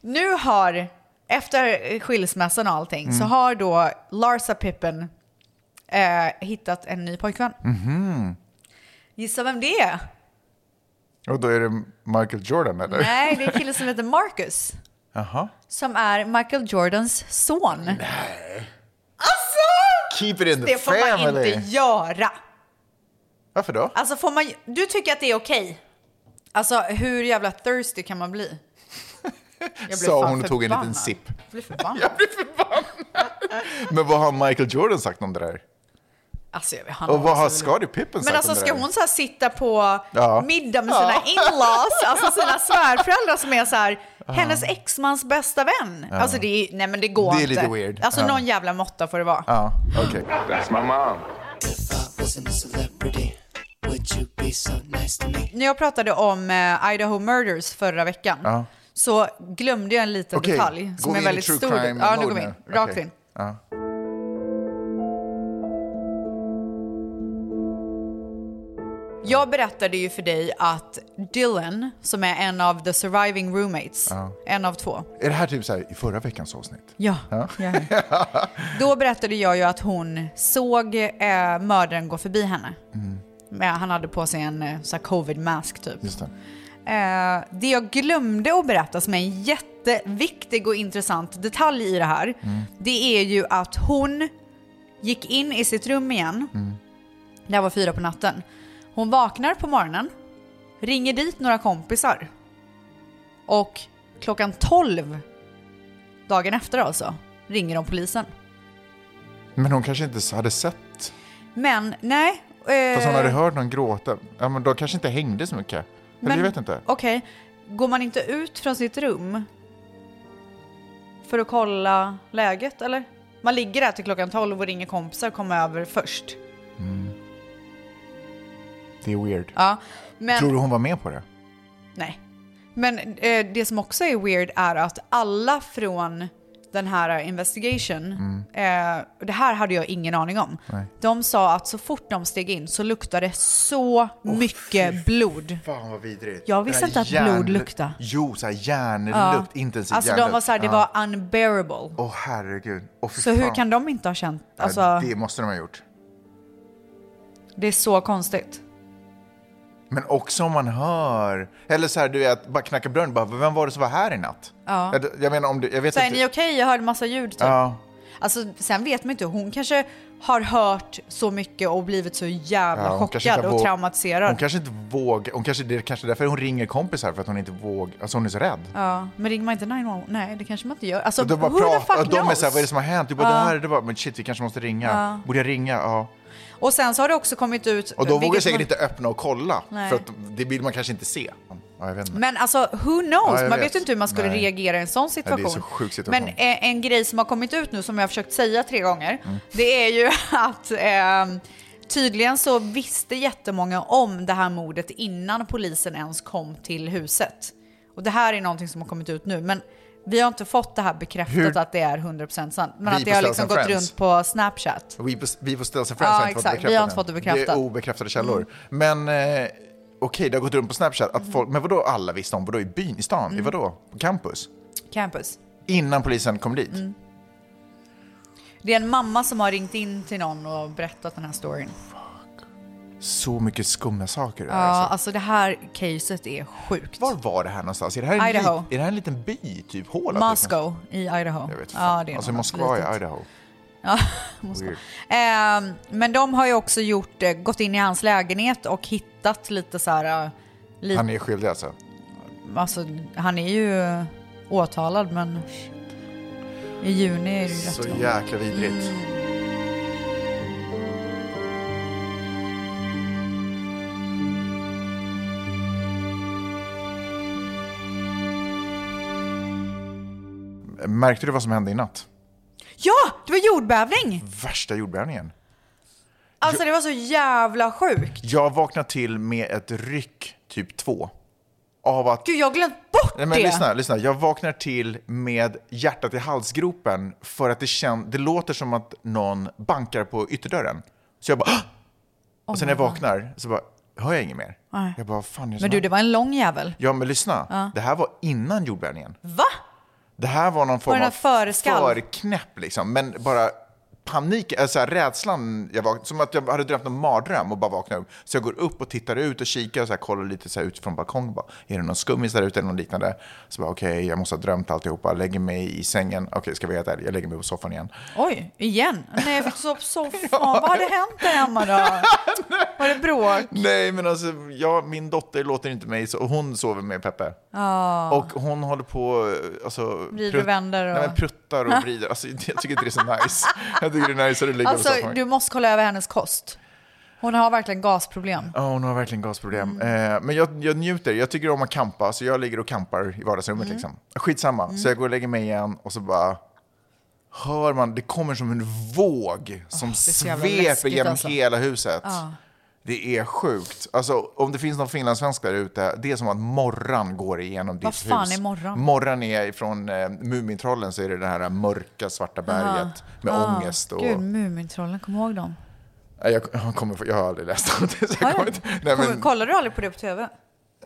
Speaker 4: nu har, efter skilsmässan och allting, så
Speaker 5: Mm.
Speaker 4: har då Larsa Pippen eh, hittat en ny pojkvän.
Speaker 5: Mhm.
Speaker 4: Gissa vem det är?
Speaker 5: Och då är det Michael Jordan, eller?
Speaker 4: Nej, det är en kille som heter Marcus.
Speaker 5: Jaha.
Speaker 4: Som är Michael Jordans son.
Speaker 5: Keep it in the
Speaker 4: Det får man
Speaker 5: family.
Speaker 4: inte göra.
Speaker 5: Varför då?
Speaker 4: Alltså får man, du tycker att det är okej? Alltså hur jävla thirsty kan man bli? Jag blir
Speaker 5: Sa
Speaker 4: fan
Speaker 5: hon och tog en liten
Speaker 4: förbannad.
Speaker 5: sipp.
Speaker 4: Jag blir förbannad.
Speaker 5: Men vad har Michael Jordan sagt om det där?
Speaker 4: Alltså, jag- han
Speaker 5: Och vad har
Speaker 4: också-
Speaker 5: Scottie Pippen
Speaker 4: Men
Speaker 5: sagt
Speaker 4: alltså
Speaker 5: om det
Speaker 4: ska
Speaker 5: där?
Speaker 4: hon så här sitta på
Speaker 5: Ja.
Speaker 4: middag med sina
Speaker 5: Ja.
Speaker 4: inlaws, alltså sina svärföräldrar som är så här,
Speaker 5: Ja.
Speaker 4: hennes exmans bästa vän.
Speaker 5: Ja.
Speaker 4: Alltså det är, nej men det går
Speaker 5: Det är
Speaker 4: inte.
Speaker 5: lite weird.
Speaker 4: Alltså
Speaker 5: Ja.
Speaker 4: någon jävla måtta får det vara.
Speaker 5: Ja, okej.
Speaker 15: That's my mom. If I wasn't a celebrity, would you be so nice to me?
Speaker 4: När jag pratade om eh, Idaho Murders förra veckan
Speaker 5: Ja.
Speaker 4: så glömde jag en liten
Speaker 5: Okej,
Speaker 4: detalj
Speaker 5: gå
Speaker 4: som är
Speaker 5: in i
Speaker 4: väldigt
Speaker 5: true
Speaker 4: stor.
Speaker 5: crime
Speaker 4: Ja, nu
Speaker 5: mode
Speaker 4: går vi in.
Speaker 5: nu.
Speaker 4: Rakt
Speaker 5: Okej.
Speaker 4: in.
Speaker 5: Ja.
Speaker 4: Jag berättade ju för dig att Dylan, som är en av the surviving roommates,
Speaker 5: Ja.
Speaker 4: en av två,
Speaker 5: Är det här typ så här i förra veckans avsnitt?
Speaker 4: Ja.
Speaker 5: ja.
Speaker 4: Då berättade jag ju att hon såg eh, mördaren gå förbi henne.
Speaker 5: Mm.
Speaker 4: Men Han hade på sig en eh, så här covid-mask typ.
Speaker 5: Just det.
Speaker 4: Eh, det jag glömde att berätta som är en jätteviktig och intressant detalj i det här,
Speaker 5: Mm.
Speaker 4: det är ju att hon gick in i sitt rum igen,
Speaker 5: Mm.
Speaker 4: det här var fyra på natten. Hon vaknar på morgonen, ringer dit några kompisar och klockan 12 dagen efter alltså ringer de polisen.
Speaker 5: Men hon kanske inte hade sett?
Speaker 4: Men nej. eh,
Speaker 5: Fast hon hade hört någon gråta. Ja, men de kanske inte hängde så mycket. Eller
Speaker 4: Men-
Speaker 5: jag vet inte.
Speaker 4: Okej, går man inte ut från sitt rum för att kolla läget eller? Man ligger där till klockan 12 och ringer kompisar och kommer över först.
Speaker 5: Det är weird.
Speaker 4: Ja, men,
Speaker 5: Tror du hon var med på det?
Speaker 4: Nej. Men eh, det som också är weird är att alla från den här investigation,
Speaker 5: Mm.
Speaker 4: eh, och det här hade jag ingen aning om,
Speaker 5: Nej.
Speaker 4: de sa att så fort de steg in så luktade det så mycket blod.
Speaker 5: Fan vad vidrigt.
Speaker 4: Jag visste inte att blod luktar.
Speaker 5: Jo, så här
Speaker 4: Ja.
Speaker 5: järnlukt, intensiv
Speaker 4: Alltså de
Speaker 5: järnlukt.
Speaker 4: var så här, det
Speaker 5: Ja.
Speaker 4: var unbearable.
Speaker 5: Åh herregud. Åh, fy
Speaker 4: Så hur
Speaker 5: fan.
Speaker 4: kan de inte ha känt?
Speaker 5: Ja,
Speaker 4: Alltså,
Speaker 5: Det måste de ha gjort.
Speaker 4: det är så konstigt.
Speaker 5: Men också om man hör, eller så här du vet, bara knacka dörren, bara vem var det som var här i natt?
Speaker 4: Ja.
Speaker 5: Jag, jag menar om du, jag vet
Speaker 4: Så här, är
Speaker 5: inte.
Speaker 4: ni okej? Jag hörde massa ljud typ.
Speaker 5: Ja.
Speaker 4: Alltså, sen vet man inte, hon kanske har hört så mycket och blivit så jävla
Speaker 5: Ja, hon kanske
Speaker 4: chockad
Speaker 5: inte
Speaker 4: och
Speaker 5: våg-
Speaker 4: traumatiserad.
Speaker 5: Hon kanske inte vågar, hon kanske, det är kanske därför hon ringer kompisar för att hon inte vågar, alltså hon är så rädd.
Speaker 4: Ja, men ringer man inte 911? Nej, det kanske man inte gör. Alltså,
Speaker 5: Och de bara
Speaker 4: who the
Speaker 5: pratar,
Speaker 4: fuck
Speaker 5: och de är
Speaker 4: knows?
Speaker 5: såhär, vad är det som har hänt? Du bara,
Speaker 4: Ja.
Speaker 5: det här, är det bara, men shit vi kanske måste ringa.
Speaker 4: Ja.
Speaker 5: Borde jag ringa? Ja.
Speaker 4: Och sen så har det också kommit ut...
Speaker 5: Och de vågar
Speaker 4: vilket
Speaker 5: säkert
Speaker 4: man-
Speaker 5: inte öppna och kolla,
Speaker 4: Nej.
Speaker 5: för att det vill man kanske inte se. Ja, jag vet inte.
Speaker 4: Men alltså, who knows?
Speaker 5: Ja,
Speaker 4: Man
Speaker 5: jag vet.
Speaker 4: vet ju inte hur man skulle
Speaker 5: Nej.
Speaker 4: reagera i en sån
Speaker 5: det är så
Speaker 4: situation.
Speaker 5: sjuk situation.
Speaker 4: Men eh, en grej som har kommit ut nu, som jag har försökt säga tre gånger,
Speaker 5: Mm.
Speaker 4: det är ju att eh, tydligen så visste jättemånga om det här mordet innan polisen ens kom till huset. Och det här är någonting som har kommit ut nu, men vi har inte fått det här bekräftat
Speaker 5: Hur-
Speaker 4: att det är 100% sant. Men
Speaker 5: Vi
Speaker 4: att det
Speaker 5: på
Speaker 4: har
Speaker 5: Ställs
Speaker 4: liksom
Speaker 5: and
Speaker 4: gått
Speaker 5: Friends.
Speaker 4: runt på Snapchat.
Speaker 5: Vi på, vi på Ställs and
Speaker 4: Ja,
Speaker 5: Friends har inte fått
Speaker 4: exakt.
Speaker 5: bekräftat
Speaker 4: Vi har inte
Speaker 5: än.
Speaker 4: fått det bekräftat. Mm.
Speaker 5: Det är obekräftade källor. Men eh, okej, det har gått runt på Snapchat att folk, men vadå alla visste om? Vadå i byn, i stan,
Speaker 4: Mm.
Speaker 5: i vadå? På campus?
Speaker 4: Campus.
Speaker 5: Innan polisen kom dit?
Speaker 4: Mm. Det är en mamma som har ringt in till någon och berättat den här storyn.
Speaker 5: Så mycket skumma saker.
Speaker 4: Ja,
Speaker 5: där, alltså.
Speaker 4: alltså det här caset är sjukt.
Speaker 5: Var var det här någonstans? Är det här en,
Speaker 4: Idaho.
Speaker 5: Lit, är det här en liten by, typ håla?
Speaker 4: Moskva i Idaho.
Speaker 5: Jag vet
Speaker 4: ja, det är
Speaker 5: Alltså
Speaker 4: något
Speaker 5: Moskva
Speaker 4: litet.
Speaker 5: i Idaho.
Speaker 4: Ja, Moskva.
Speaker 5: Weird.
Speaker 4: Ehm, men de har ju också gjort, eh, gått in i hans lägenhet och hittat lite så här... eh, Lite,
Speaker 5: Han är skyldig alltså?
Speaker 4: alltså, han är ju eh, åtalad men i juni är det ju
Speaker 5: Så
Speaker 4: rättegång.
Speaker 5: jäkla vidrigt. Märkte du vad som hände i natt?
Speaker 4: Ja, det var jordbävning!
Speaker 5: Värsta jordbävningen.
Speaker 4: Alltså det var så jävla sjukt.
Speaker 5: Jag vaknade till med ett ryck, typ två. Av att...
Speaker 4: Gud, jag har glömt bort det!
Speaker 5: Nej, men lyssna, lyssna. Jag vaknar till med hjärtat i halsgropen för att det, kän... det låter som att någon bankar på ytterdörren. Så jag bara... "Hå!"
Speaker 4: Oh
Speaker 5: och sen när jag
Speaker 4: my God.
Speaker 5: vaknar så bara, hör jag inget mer.
Speaker 4: Nej.
Speaker 5: Jag bara, "Vad fan är det som
Speaker 4: Men du,
Speaker 5: händer?"
Speaker 4: det var en lång jävel.
Speaker 5: Ja, men lyssna.
Speaker 4: Ja.
Speaker 5: Det här var innan jordbävningen.
Speaker 4: Va?
Speaker 5: Det här var någon
Speaker 4: Var
Speaker 5: form
Speaker 4: det
Speaker 5: av
Speaker 4: något föreskalv?
Speaker 5: förknäpp, liksom. men bara panik, alltså här, rädslan, jag vak- som att jag hade drömt en mardröm och bara vaknade upp. Så jag går upp och tittar ut och kikar och så här, kollar lite så här, ut från balkongen. Bara, är det någon skummis där ute eller något liknande? Så bara okej, jag måste ha drömt alltihopa. Lägger mig i sängen. Okej, ska vi äta? Jag lägger mig på soffan igen.
Speaker 4: Oj, igen? Nej, jag fick sova på soffan. Vad hade hänt där hemma då? Var det bråk?
Speaker 5: Nej, men alltså, jag, min dotter låter inte mig, så, och hon sover med Peppe.
Speaker 4: Ja.
Speaker 5: Och hon håller på alltså,
Speaker 4: Ah. Vrider och
Speaker 5: prutt-
Speaker 4: vänder och-
Speaker 5: Nej, men pruttar och vrider. Alltså, jag tycker inte det är så nice. Jag tycker det är nice att ligga
Speaker 4: Alltså,
Speaker 5: på soffan.
Speaker 4: du måste kolla över hennes kost. Hon har verkligen gasproblem.
Speaker 5: Ja, hon har verkligen gasproblem.
Speaker 4: Mm.
Speaker 5: Eh, men jag, jag njuter. Jag tycker om att kampa, så jag ligger och kampar i vardagsrummet.
Speaker 4: Mm.
Speaker 5: Liksom. Skitsamma.
Speaker 4: Mm.
Speaker 5: Så jag går och lägger mig igen och så bara hör man, det kommer som en våg som
Speaker 4: det är så jävla
Speaker 5: sveper
Speaker 4: läskigt,
Speaker 5: genom
Speaker 4: alltså.
Speaker 5: hela huset.
Speaker 4: Ja.
Speaker 5: Det är sjukt. Alltså, om det finns någon finlandssvensk där ute, det är som att morran går igenom ditt
Speaker 4: Vad
Speaker 5: hus.
Speaker 4: fan är morran?
Speaker 5: Morran är från eh, Mumintrollen, så är det det här mörka svarta berget med
Speaker 4: Ah.
Speaker 5: ångest. Och...
Speaker 4: Gud, Mumintrollen, kom ihåg dem.
Speaker 5: Nej, Jag, jag, kommer, jag har aldrig läst om det. Så jag kommer inte- Nej,
Speaker 4: Kommer-
Speaker 5: men-
Speaker 4: Kollar du aldrig på det på tv?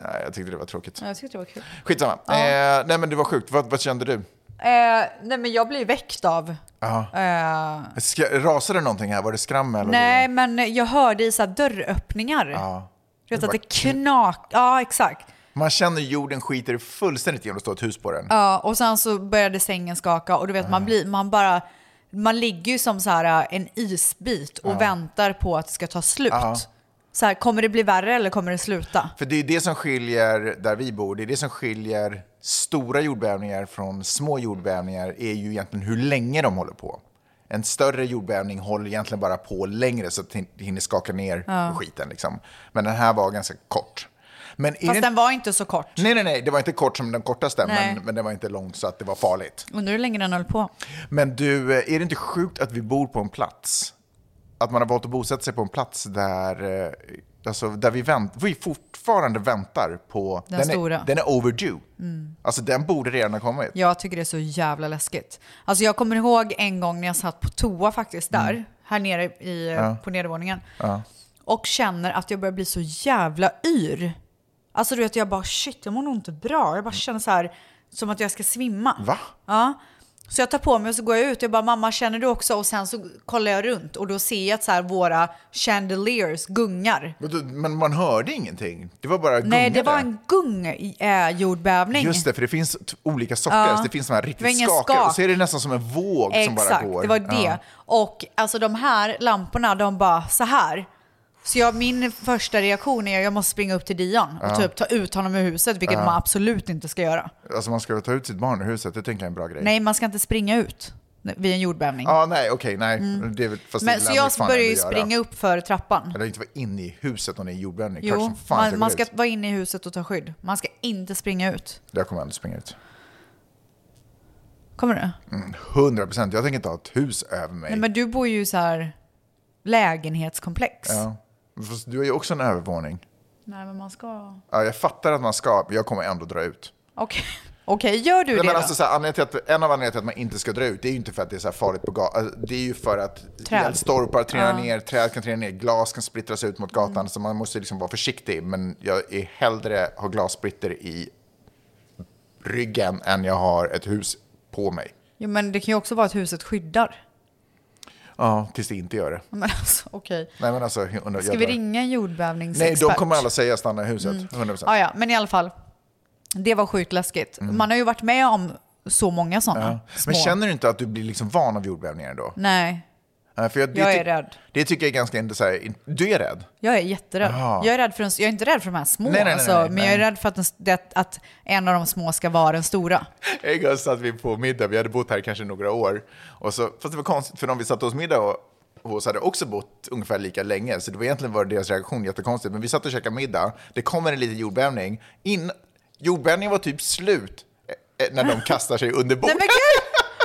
Speaker 5: Nej, jag tyckte det var tråkigt.
Speaker 4: Ja, Jag tyckte det var kul.
Speaker 5: Skitsamma.
Speaker 4: Ja.
Speaker 5: Eh, nej men det var sjukt. Vad, vad kände du?
Speaker 4: Eh, nej, men jag blir väckt av...
Speaker 5: Ja.
Speaker 4: Eh,
Speaker 5: Ska, rasade det någonting här? Var det skrammel? och-
Speaker 4: nej, men jag hörde i så här dörröppningar.
Speaker 5: Ja.
Speaker 4: Du vet
Speaker 5: Det
Speaker 4: att
Speaker 5: bara
Speaker 4: det knak... Ja, exakt.
Speaker 5: Man känner ju jorden skiter fullständigt i om det står ett hus på den.
Speaker 4: Ja, och sen så började sängen skaka och du vet, man, blir, man bara... Man ligger ju som så här äh, en isbit och
Speaker 5: Ja.
Speaker 4: väntar på att det ska ta slut.
Speaker 5: Ja.
Speaker 4: Så här, kommer det bli värre eller kommer det sluta?
Speaker 5: För det är det som skiljer där vi bor. Det är det som skiljer stora jordbävningar från små jordbävningar är ju egentligen hur länge de håller på. En större jordbävning håller egentligen bara på längre så att det hinner skaka ner
Speaker 4: Ja.
Speaker 5: skiten. Liksom. Men den här var ganska kort. Men är
Speaker 4: Fast
Speaker 5: det-
Speaker 4: den var inte så kort.
Speaker 5: Nej, nej, nej. Det var inte kort som den kortaste,
Speaker 4: Nej.
Speaker 5: men, men det var inte långt så att det var farligt.
Speaker 4: Undrar hur länge den höll på.
Speaker 5: Men du, eh, är det inte sjukt att vi bor på en plats? Att man har valt att bosätta sig på en plats där, eh, alltså, där vi, vänt, vi fortfarande väntar på...
Speaker 4: Den stora. Mm.
Speaker 5: Är, den är overdue. Alltså den borde redan ha kommit.
Speaker 4: Jag tycker det är så jävla läskigt. Alltså jag kommer ihåg en gång när jag satt på toa faktiskt där,
Speaker 5: Mm.
Speaker 4: här nere i,
Speaker 5: Ja.
Speaker 4: på nedervåningen.
Speaker 5: Ja.
Speaker 4: och känner att jag börjar bli så jävla yr. Alltså du vet, jag bara shit, jag mår nog inte bra. Jag bara känner så här som att jag ska svimma.
Speaker 5: Va?
Speaker 4: Ja. Så jag tar på mig och så går jag ut. Jag bara mamma känner du också? Och sen så kollar jag runt och då ser jag att så här, våra chandeliers gungar.
Speaker 5: Men, du, men man hörde ingenting. Det var bara
Speaker 4: Nej, det
Speaker 5: gungade.
Speaker 4: var en gung i, eh, jordbävning.
Speaker 5: Just det, för det finns t- olika sorter. Alltså,
Speaker 4: Ja.
Speaker 5: Det finns de här
Speaker 4: Det var
Speaker 5: riktigt
Speaker 4: ingen
Speaker 5: skakiga. Och
Speaker 4: skak.
Speaker 5: så är det nästan som en våg som Liksom bara
Speaker 4: Exakt,
Speaker 5: går.
Speaker 4: det var det.
Speaker 5: Ja.
Speaker 4: Och alltså de här lamporna, de bara så här. Så jag, min första reaktion är att jag måste springa upp till Dion och
Speaker 5: Ja.
Speaker 4: typ ta ut honom ur huset, vilket
Speaker 5: Ja.
Speaker 4: man absolut inte ska göra.
Speaker 5: Alltså man ska väl ta ut sitt barn ur huset, det tänker jag är en bra grej.
Speaker 4: Nej, man ska inte springa ut. vid en jordbävning.
Speaker 5: Ja, nej, okej, nej.
Speaker 4: Mm.
Speaker 5: Det är väl, fast
Speaker 4: Men,
Speaker 5: det
Speaker 4: så
Speaker 5: lär
Speaker 4: jag
Speaker 5: man fan
Speaker 4: började
Speaker 5: ändå
Speaker 4: ju
Speaker 5: göra.
Speaker 4: springa upp för trappan.
Speaker 5: Jag lär inte vara inne i huset om det är en jordbävning. Klart
Speaker 4: Jo,
Speaker 5: som fan
Speaker 4: man, man
Speaker 5: gå
Speaker 4: ska
Speaker 5: ut.
Speaker 4: vara inne i huset och ta skydd. Man ska inte springa ut.
Speaker 5: Jag kommer ändå springa ut.
Speaker 4: Kommer du?
Speaker 5: Mm, 100 procent. Jag tänker inte ha ett hus över mig.
Speaker 4: Nej, men du bor ju i så här lägenhetskomplex.
Speaker 5: ja. Fast du har ju också en övervåning.
Speaker 4: Nej, men man ska...
Speaker 5: Ja, jag fattar att man ska, men jag kommer ändå dra ut.
Speaker 4: Okej, Okej, gör du
Speaker 5: Nej,
Speaker 4: det
Speaker 5: men
Speaker 4: då?
Speaker 5: alltså, så här, anledningen till att, en av anledningarna till att man inte ska dra ut det är ju inte för att det är så här farligt på gatan. Alltså, det är ju för att
Speaker 4: Träd.
Speaker 5: eldstolpar trillar
Speaker 4: Ja. Mm.
Speaker 5: ner, träd kan trilla ner, glas kan splittras ut mot gatan. Så man måste liksom vara försiktig. Men jag är hellre har glassplitter i ryggen än jag har ett hus på mig.
Speaker 4: Jo, men det kan ju också vara att huset skyddar.
Speaker 5: Ja, tills det inte gör det.
Speaker 4: Men alltså, okej.
Speaker 5: Nej, men alltså, jag undrar-
Speaker 4: Ska
Speaker 5: jag
Speaker 4: vi
Speaker 5: drar.
Speaker 4: ringa en
Speaker 5: Nej,
Speaker 4: jordbävningsexpert?
Speaker 5: de kommer alla säga stanna i huset.
Speaker 4: Mm.
Speaker 5: 100%.
Speaker 4: Ja, ja, men i alla fall. Det var sjukt läskigt.
Speaker 5: Mm.
Speaker 4: Man har ju varit med om så många sådana.
Speaker 5: Ja. Men känner du inte att du blir liksom van av jordbävningar då?
Speaker 4: Nej,
Speaker 5: Ja, För det
Speaker 4: Jag
Speaker 5: ty-
Speaker 4: är rädd.
Speaker 5: Det tycker jag är ganska intressant. Du är rädd?
Speaker 4: jag är jätterädd.
Speaker 5: Ja.
Speaker 4: Jag, är rädd för en, jag är inte rädd för de här små,
Speaker 5: Nej, nej, nej,
Speaker 4: alltså,
Speaker 5: nej,
Speaker 4: men jag är rädd för att, den, det, att en av de små ska vara den stora.
Speaker 5: En gång satt vi på middag, vi hade bott här kanske några år. Och så, fast det var konstigt, för de vi satt hos middag och, hos hade också bott ungefär lika länge. Så det var egentligen var deras reaktion jättekonstigt. Men vi satt och käkade middag, det kommer en liten jordbävning. In, jordbävningen var typ slut eh, eh, när de kastar sig under bordet.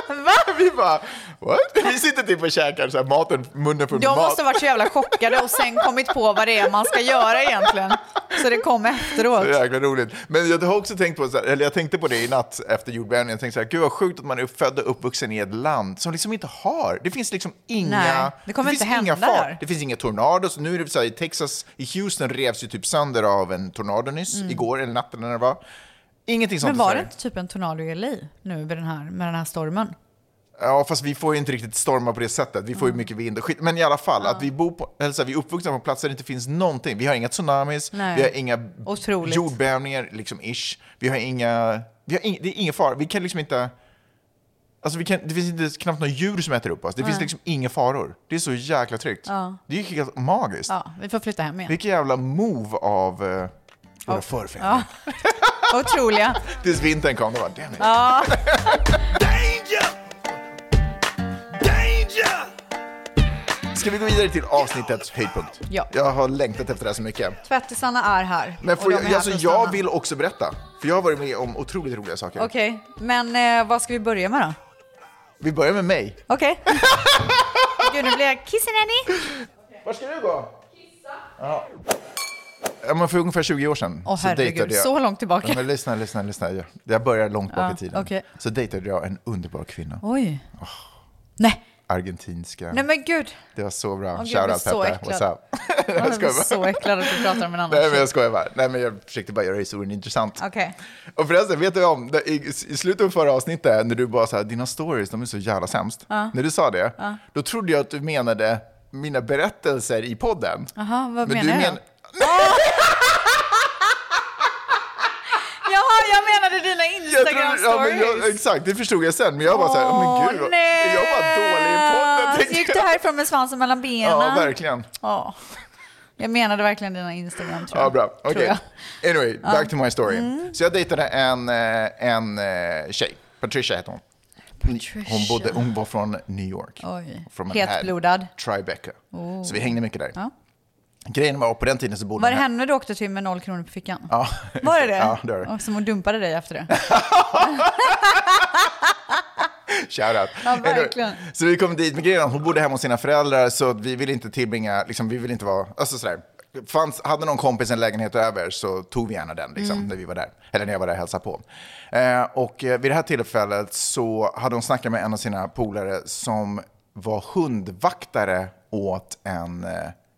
Speaker 5: Vi bara, what? Vi sitter typ och käkar så här, maten, munnen full med
Speaker 4: De
Speaker 5: mat.
Speaker 4: måste ha varit så jävla chockade och sen kommit på vad det är man ska göra egentligen. Så det kom efteråt.
Speaker 5: Så jäkla roligt. Men jag har också tänkt på, så här, eller jag tänkte på det i natt efter jordbävningen. Jag tänkte så här, gud vad sjukt att man är född och uppvuxen i ett land som liksom inte har, det finns liksom inga,
Speaker 4: Nej, det kommer inte
Speaker 5: finns inga
Speaker 4: hända
Speaker 5: far-
Speaker 4: där.
Speaker 5: Det finns inga tornados. Nu är det så här, i Texas, i Houston revs ju typ sönder av en tornado nyss,
Speaker 4: Mm.
Speaker 5: igår eller natten när det var. Ingenting sånt
Speaker 4: Men
Speaker 5: i
Speaker 4: var det
Speaker 5: Sverige.
Speaker 4: inte typ en tornado i LA nu med den här, med den här stormen?
Speaker 5: Ja, fast vi får ju inte riktigt storma på det sättet. Vi får
Speaker 4: Mm.
Speaker 5: ju mycket vind och skit. Men i alla fall, att vi bor på, eller så här, vi är uppvuxna på platser där det inte finns någonting. Vi har inga tsunamis,
Speaker 4: Nej.
Speaker 5: vi har inga
Speaker 4: Otroligt.
Speaker 5: jordbävningar, liksom ish. Vi har inga, vi har ing, det är ingen fara. Vi kan liksom inte, alltså vi kan, det finns inte, knappt några djur som äter upp oss. Det finns
Speaker 4: Nej.
Speaker 5: liksom inga faror. Det är så jäkla tryggt.
Speaker 4: Ja.
Speaker 5: Det är ju helt magiskt.
Speaker 4: Ja, vi får flytta hem igen.
Speaker 5: Vilken jävla move av eh, våra förfäder.
Speaker 4: Ja. Otroliga.
Speaker 5: Tills vintern kom, då bara, damn it.
Speaker 4: Ja.
Speaker 5: Ska vi gå vidare till avsnittets höjdpunkt?
Speaker 4: Ja.
Speaker 5: Jag har längtat efter det här så mycket.
Speaker 4: Tvättisarna är här.
Speaker 5: Men
Speaker 4: och
Speaker 5: får
Speaker 4: de
Speaker 5: jag,
Speaker 4: är här
Speaker 5: alltså,
Speaker 4: för att
Speaker 5: jag
Speaker 4: stanna.
Speaker 5: vill också berätta, för jag har varit med om otroligt roliga saker.
Speaker 4: Okej, men eh, vad ska vi börja med då?
Speaker 5: Vi börjar med mig.
Speaker 4: Okej. Gud, nu blir jag kissenanny.
Speaker 5: Var ska du gå? Ja. Ja, men för ungefär 20 år sedan
Speaker 4: Åh, herregud, så långt tillbaka.
Speaker 5: Ja, Men lyssna, lyssna, lyssna. Jag- Jag börjar långt bak
Speaker 4: Ja,
Speaker 5: i tiden.
Speaker 4: okej.
Speaker 5: Så dejtade jag en underbar kvinna.
Speaker 4: Oj.
Speaker 5: Argentinska.
Speaker 4: Nej men gud.
Speaker 5: Det var så bra.
Speaker 4: Åh, gud, jag blir
Speaker 5: Shoutout
Speaker 4: så
Speaker 5: Peppe.
Speaker 4: äcklad.
Speaker 5: What's up?
Speaker 4: Jag
Speaker 5: skojar
Speaker 4: blir
Speaker 5: bara.
Speaker 4: så äcklad att du pratar om en annan
Speaker 5: Nej men
Speaker 4: tjej.
Speaker 5: jag skojar bara. Nej men jag försökte bara göra historien intressant.
Speaker 4: Okej.
Speaker 5: Och förresten, vet du om, i, i slutet av förra avsnittet, när du bara så här, dina stories, de är så jävla sämst.
Speaker 4: Ja.
Speaker 5: När du sa det,
Speaker 4: Ja.
Speaker 5: då trodde jag att du menade mina berättelser i podden.
Speaker 4: Jaha, vad
Speaker 5: Men du
Speaker 4: menar jag?
Speaker 5: men-
Speaker 4: Jaha, jag menade dina
Speaker 5: Jag trodde- ja, men jag,
Speaker 4: Instagram-stories.
Speaker 5: exakt, det förstod jag sen. Men jag bara så här, "Åh, men gud, vad- är jag bara dålig i podden?
Speaker 4: Så gick
Speaker 5: tänkte
Speaker 4: du
Speaker 5: jag.
Speaker 4: härifrån med svansen mellan benen.
Speaker 5: Ja, verkligen.
Speaker 4: Ja. Jag menade verkligen dina Instagram tror jag.
Speaker 5: Ja, bra.
Speaker 4: Tror
Speaker 5: Okej.
Speaker 4: jag.
Speaker 5: Anyway,
Speaker 4: Ja.
Speaker 5: back to my story.
Speaker 4: Mm.
Speaker 5: Så jag dejtade en, eh, en eh, tjej, Patricia hette hon. Hon, bodde, hon var från New York.
Speaker 4: Oj.
Speaker 5: Från
Speaker 4: Hetblodad.
Speaker 5: Tribeca.
Speaker 4: Oh.
Speaker 5: Så vi hängde mycket där.
Speaker 4: Ja.
Speaker 5: Grejen var, på den tiden så bodde
Speaker 4: Var det
Speaker 5: den här-
Speaker 4: henne du åkte till med noll kronor på fickan?
Speaker 5: Ja.
Speaker 4: Var det det?
Speaker 5: Ja, det var det.
Speaker 4: Och som hon dumpade dig efter det?
Speaker 5: Shoutout.
Speaker 4: Ja, verkligen.
Speaker 5: Så vi kom dit, med grejen var att hon bodde hemma hos sina föräldrar så att vi ville inte tillbringa, liksom, vi ville inte vara, alltså sådär. Fanns, hade någon kompis en lägenhet över så tog vi gärna den liksom,
Speaker 14: Mm.
Speaker 5: när vi var där. Eller när jag var där och hälsade på. Eh, och eh, vid det här tillfället så hade hon snackat med en av sina polare som var hundvaktare åt en, eh,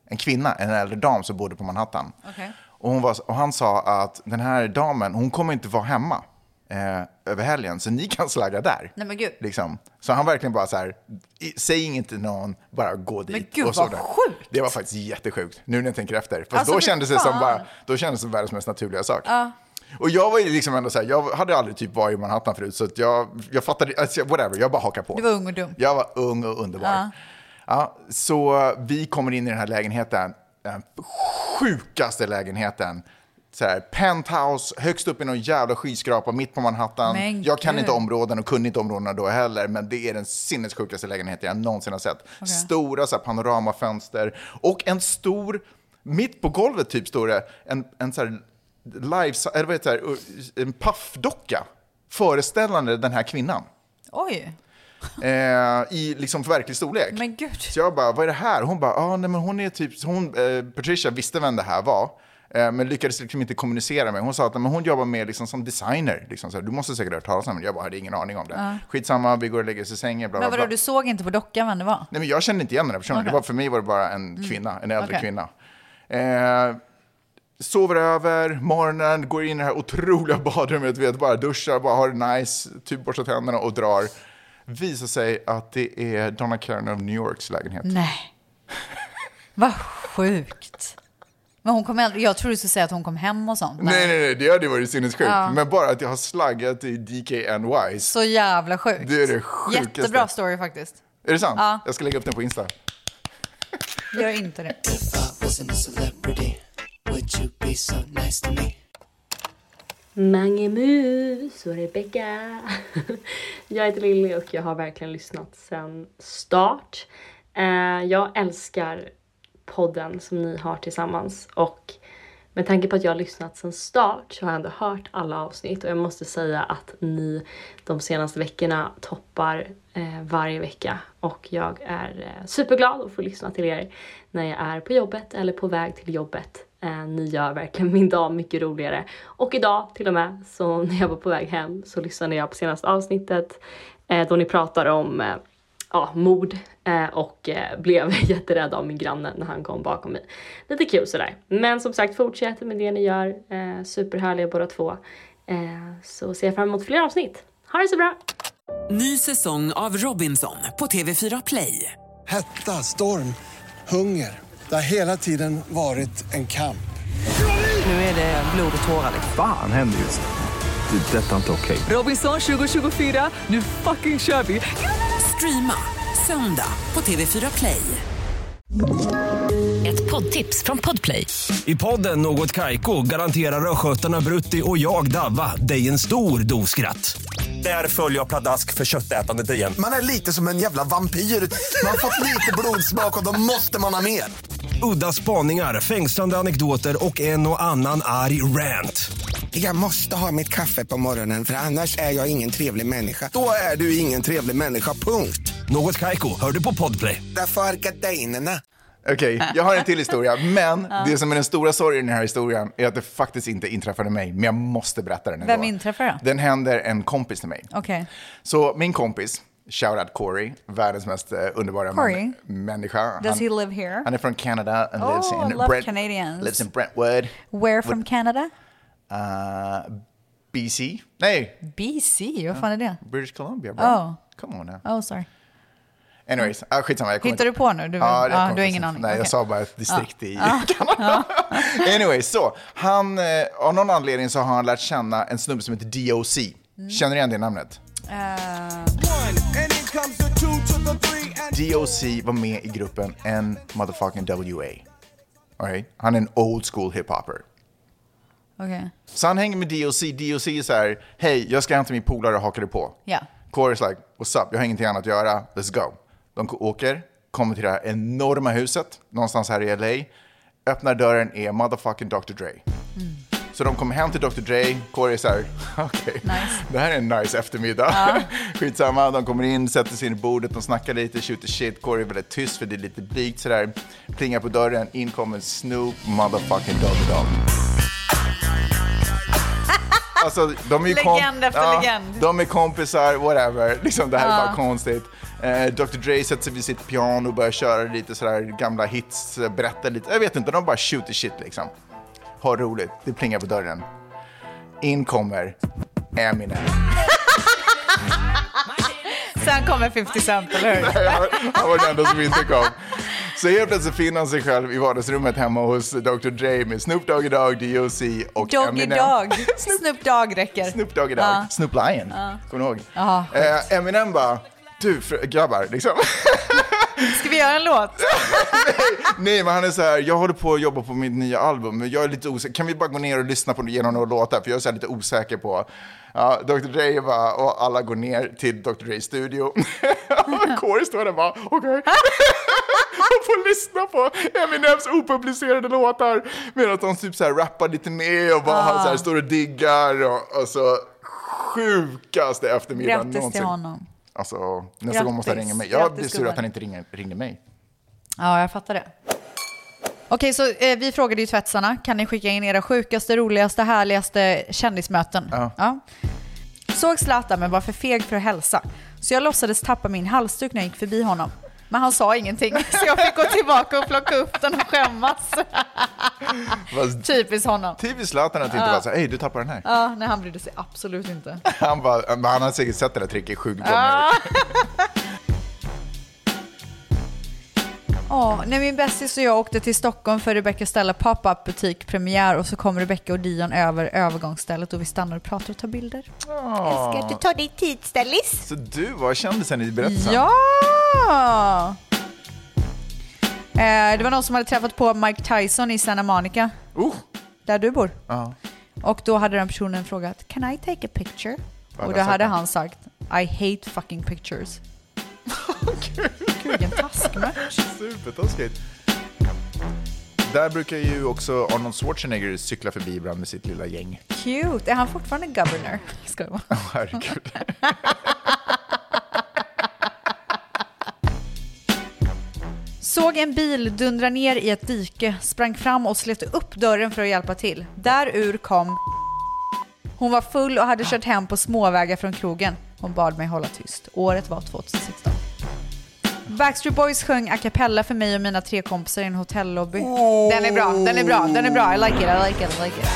Speaker 5: en kvinna, en äldre dam som bodde på Manhattan.
Speaker 14: Okay.
Speaker 5: Och, hon var, och han sa att den här damen, hon kommer inte vara hemma eh, över helgen, så ni kan slagga där.
Speaker 4: Nej men gud.
Speaker 5: Liksom. Så han verkligen bara så här, i- säg inget till någon, bara gå dit.
Speaker 4: Men gud,
Speaker 5: och så
Speaker 4: vad
Speaker 5: där.
Speaker 4: sjukt.
Speaker 5: Det var faktiskt jättesjukt, nu när jag tänker efter. Fast
Speaker 4: Alltså,
Speaker 5: då,
Speaker 4: fy
Speaker 5: kändes det som
Speaker 4: fan.
Speaker 5: bara, då kändes det som världens mest naturliga sak.
Speaker 4: Ja.
Speaker 5: Och jag var ju liksom ändå så här, jag hade aldrig typ varit i Manhattan förut, så att jag, jag fattade, alltså, jag- whatever, jag bara hakar på.
Speaker 4: Du var ung och dum.
Speaker 5: Jag var ung och underbar.
Speaker 4: Ja.
Speaker 5: Ja, så vi kommer in i den här lägenheten, den sjukaste lägenheten. så här, penthouse högst upp i någon jävla skyskrapa mitt på Manhattan.
Speaker 4: Men
Speaker 5: jag kan
Speaker 4: gud.
Speaker 5: inte områden och kunde inte områdena då heller, men det är den sinnessjukaste lägenheten jag någonsin har sett.
Speaker 4: Okej.
Speaker 5: Stora så här, panoramafönster och en stor, mitt på golvet typ står det en, en så här, live, eller vad heter det, en paffdocka föreställande den här kvinnan.
Speaker 4: Oj.
Speaker 5: Eh, I liksom verklig storlek.
Speaker 4: Men gud.
Speaker 5: Så jag bara, vad är det här? Hon bara, ah, nej men hon är typ, så hon, eh, Patricia visste vem det här var. eh, Men lyckades liksom inte kommunicera med. Hon sa att men hon jobbar med liksom som designer. Liksom så här, du måste säkert ha hört talas om det. Jag bara hade ingen aning om det.
Speaker 4: Ja.
Speaker 5: Skitsamma, vi går och lägger oss i sängen. Bla, bla,
Speaker 4: Men vadå,
Speaker 5: bla.
Speaker 4: du såg inte på dockan vem det var?
Speaker 5: Nej, men jag kände inte igen den här personen.
Speaker 4: Okej. Mm.
Speaker 5: Det var, för mig var det bara en kvinna, en äldre
Speaker 4: Okej.
Speaker 5: kvinna. Eh, sover över, morgonen, går in i det här otroliga badrummet, vet, bara duschar, bara har det nice, typ borstar tänderna och drar. Visar sig att det är Donna Karen of New Yorks lägenhet.
Speaker 4: Nej. Vad sjukt. Men hon kom aldrig, jag tror du skulle säga att hon kom hem och sånt. men
Speaker 5: Nej, nej, nej, det hade varit sinnessjukt.
Speaker 4: Ja.
Speaker 5: Men bara att jag har slaggat i DKNY.
Speaker 4: Så jävla sjukt.
Speaker 5: Det är det sjukaste.
Speaker 4: Jättebra story faktiskt.
Speaker 5: Är det sant?
Speaker 4: Ja.
Speaker 5: Jag ska lägga upp den på Insta.
Speaker 4: Gör inte det.
Speaker 17: Wasn't a celebrity, would you be so nice to me?
Speaker 10: Mange Mus och Rebecka. Jag heter Lilly och jag har verkligen lyssnat sedan start. Eh, Jag älskar podden som ni har tillsammans och med tanke på att jag har lyssnat sedan start så har jag ändå hört alla avsnitt och jag måste säga att ni de senaste veckorna toppar eh, varje vecka och jag är eh, superglad att få lyssna till er när jag är på jobbet eller på väg till jobbet. Eh, ni gör verkligen min dag mycket roligare. Och idag till och med, så när jag var på väg hem så lyssnade jag på senaste avsnittet eh, då ni pratar om eh, ja, mord eh, och eh, blev jätterädd av min granne när han kom bakom mig. Lite kul sådär. Men som sagt, fortsätt med det ni gör. Eh, superhärliga båda två. Eh, så ser jag fram emot fler avsnitt. Ha det så bra!
Speaker 1: Ny säsong av Robinson på TV4 Play.
Speaker 18: Hetta, storm, hunger. Det har hela tiden varit en kamp.
Speaker 1: Nu är det blod och tårar. liksom.
Speaker 3: Fan händer just det. Det är detta inte okej.
Speaker 1: Robinson 2024, nu fucking kör vi! Streama söndag på TV4 Play.
Speaker 19: Ett poddtips från Podplay.
Speaker 20: I podden Något Kaiko garanterar östgötarna Brutti och jag, Davva, dig en stor dos skratt. Där följer jag pladask för köttätandet igen.
Speaker 21: Man är lite som en jävla vampyr. Man har fått lite blodsmak och då måste man ha mer.
Speaker 20: Udda spaningar, fängslande anekdoter och en och annan arg rant.
Speaker 2: Jag måste ha mitt kaffe på morgonen för annars är jag ingen trevlig människa. Då är du ingen trevlig människa, punkt.
Speaker 20: Något Kaiko, hör du på podplay.
Speaker 2: Därför är gardinerna.
Speaker 5: Okej, jag har en till historia. Men det som är den stora sorgen i den här historien är att det faktiskt inte inträffade mig, men jag måste berätta den ändå.
Speaker 4: Vem inträffar då?
Speaker 5: Den händer en kompis till mig.
Speaker 4: Okej.
Speaker 5: Så min kompis, shoutout Corey, världens mest eh, underbara
Speaker 4: Corey?
Speaker 5: man- människa.
Speaker 4: Does he live here?
Speaker 5: Han är från Canada and lives,
Speaker 4: Oh,
Speaker 5: in
Speaker 4: love Canadians.
Speaker 5: lives in Brentwood.
Speaker 4: Where from Canada?
Speaker 5: Uh, BC? Nej,
Speaker 4: BC? Vad fan är det?
Speaker 5: British Columbia. Bro.
Speaker 4: Oh.
Speaker 5: Come on now.
Speaker 4: Oh, sorry.
Speaker 5: Anyways, ah, skitsamma. Jag kommer
Speaker 4: Hittar du
Speaker 5: inte-
Speaker 4: på nu? Du,
Speaker 5: Ja, jag
Speaker 4: ja, du
Speaker 5: kommer
Speaker 4: har
Speaker 5: precis-
Speaker 4: ingen aning?
Speaker 5: Nej, jag
Speaker 4: Okej.
Speaker 5: sa bara ett distrikt
Speaker 4: Ja.
Speaker 5: i
Speaker 4: Ja.
Speaker 5: anyway, så. Han, eh, av någon anledning så har han lärt känna en snubbe som heter DOC.
Speaker 4: Mm.
Speaker 5: Känner du igen det namnet?
Speaker 4: Eh.
Speaker 5: DOC var med i gruppen N motherfucking WA. All right? Han är en old school hiphopper.
Speaker 4: Okej.
Speaker 5: Så han hänger med DOC. DOC är så här, hej, jag ska hämta min polare, hakar du på?
Speaker 4: Ja.
Speaker 5: Corey's like, what's up, jag har ingenting annat att göra, let's go. De åker, kommer till det här enorma huset, någonstans här i LA. Öppnar dörren är motherfucking Dr. Dre. Så de kommer hem till Dr. Dre, Corey är så här, okej, det här är en nice eftermiddag.
Speaker 22: Ja.
Speaker 5: Skitsamma, de kommer in, sätter sig in i bordet, de snackar lite, shooter shit, Corey är väldigt tyst för det är lite blygt sådär. Plingar på dörren, in kommer Snoop motherfucking Doggy Dogg. Alltså, de är ju kom-
Speaker 4: Legend efter legend.
Speaker 5: De är kompisar, whatever. Liksom, det här är
Speaker 4: Ja.
Speaker 5: bara konstigt. Eh, Dr. Dre sätter sig vid sitt piano och börjar köra lite sådär gamla hits, eh, berättar lite. Jag vet inte, de bara shooter shit liksom. Har roligt, det plingar på dörren. In kommer Eminem.
Speaker 4: Sen kommer 50 Cent, eller hur?
Speaker 5: Han var den enda som inte kom. Så helt plötsligt finner han sig själv i vardagsrummet hemma hos Dr. Dre med Snoop Doggy Dogg, D.O.C. och
Speaker 4: Doggy
Speaker 5: Eminem.
Speaker 4: Dogg. Snoop Dogg räcker.
Speaker 5: Snoop Doggy Dogg.
Speaker 4: Ja.
Speaker 5: Snoop Lion.
Speaker 4: Ja.
Speaker 5: Kommer ni ihåg?
Speaker 4: Ja,
Speaker 5: Eh, Eminem bara, du fr- grabbar, liksom.
Speaker 4: Ska vi göra en låt?
Speaker 5: Nej, men han är så här, jag håller på att jobba på mitt nya album, men jag är lite osäker. Kan vi bara gå ner och lyssna på genom några låtar? För jag är så här lite osäker på. Ja, Dr. Dre bara, och alla går ner till Dr. Dre's studio. Kåre står där och bara, okej. och får lyssna på Eminems opublicerade låtar. Medan de typ så här rappar lite med och bara
Speaker 4: Ah.
Speaker 5: så här, står och diggar. Och, alltså, sjukaste eftermiddagen
Speaker 4: Grattis till
Speaker 5: någonsin.
Speaker 4: honom.
Speaker 5: Alltså, nästa gång måste han
Speaker 4: Grattis.
Speaker 5: ringa mig. Jag
Speaker 4: Grattis,
Speaker 5: blir sur
Speaker 4: gubben.
Speaker 5: att han inte ringer, ringer mig.
Speaker 4: Ja, jag fattar det. Okej, så eh, vi frågade ju tvättsarna. Kan ni skicka in era sjukaste, roligaste, härligaste kändismöten? Ja. Såg Zlatan men var för feg för att hälsa. Så jag låtsades tappa min halsduk när jag gick förbi honom. Men han sa ingenting, så jag fick gå tillbaka och plocka upp den och skämmas.
Speaker 5: Fast
Speaker 4: Typiskt honom.
Speaker 5: Typiskt Typ Zlatan att inte
Speaker 4: Ja.
Speaker 5: vara så här, hej du tappar den här.
Speaker 4: Ja, nej, han brydde sig absolut inte.
Speaker 5: Han, bara, men han har säkert sett det där tricket sjukt gånger.
Speaker 4: Ja. Åh, när min bästis och jag åkte till Stockholm för Rebecca Stella pop-up butik premiär och så kom Rebecca och Dion över övergångsstället och vi stannar och pratar och tar bilder.
Speaker 5: Åh.
Speaker 4: Älskar att du tar dig tid, Stellis.
Speaker 5: Så du var kändisen i berättelsen?
Speaker 4: Ja! Eh, det var någon som hade träffat på Mike Tyson i Santa Monica. Där du bor.
Speaker 5: Uh. Ja.
Speaker 4: Och då hade den personen frågat “Can I take a picture?”
Speaker 5: Vad
Speaker 4: Och
Speaker 5: hade
Speaker 4: då
Speaker 5: han sagt
Speaker 4: hade
Speaker 5: då?
Speaker 4: han sagt “I hate fucking pictures”. Gud, vilken taskmatch.
Speaker 5: Supertaskigt. Där brukar ju också Arnold Schwarzenegger cykla förbi ibland med sitt lilla gäng.
Speaker 4: Cute. Är han fortfarande governor? Ska det vara.
Speaker 5: Herregud.
Speaker 4: Såg en bil dundra ner i ett dike, sprang fram och slet upp dörren för att hjälpa till. Där ur kom Hon var full och hade kört hem på småvägar från krogen. Hon bad mig hålla tyst. Året var 2016. Backstreet Boys sjöng a cappella för mig och mina tre kompisar i en hotellobby. Den är bra, den är bra, den är bra. I like it, I like it, I like it.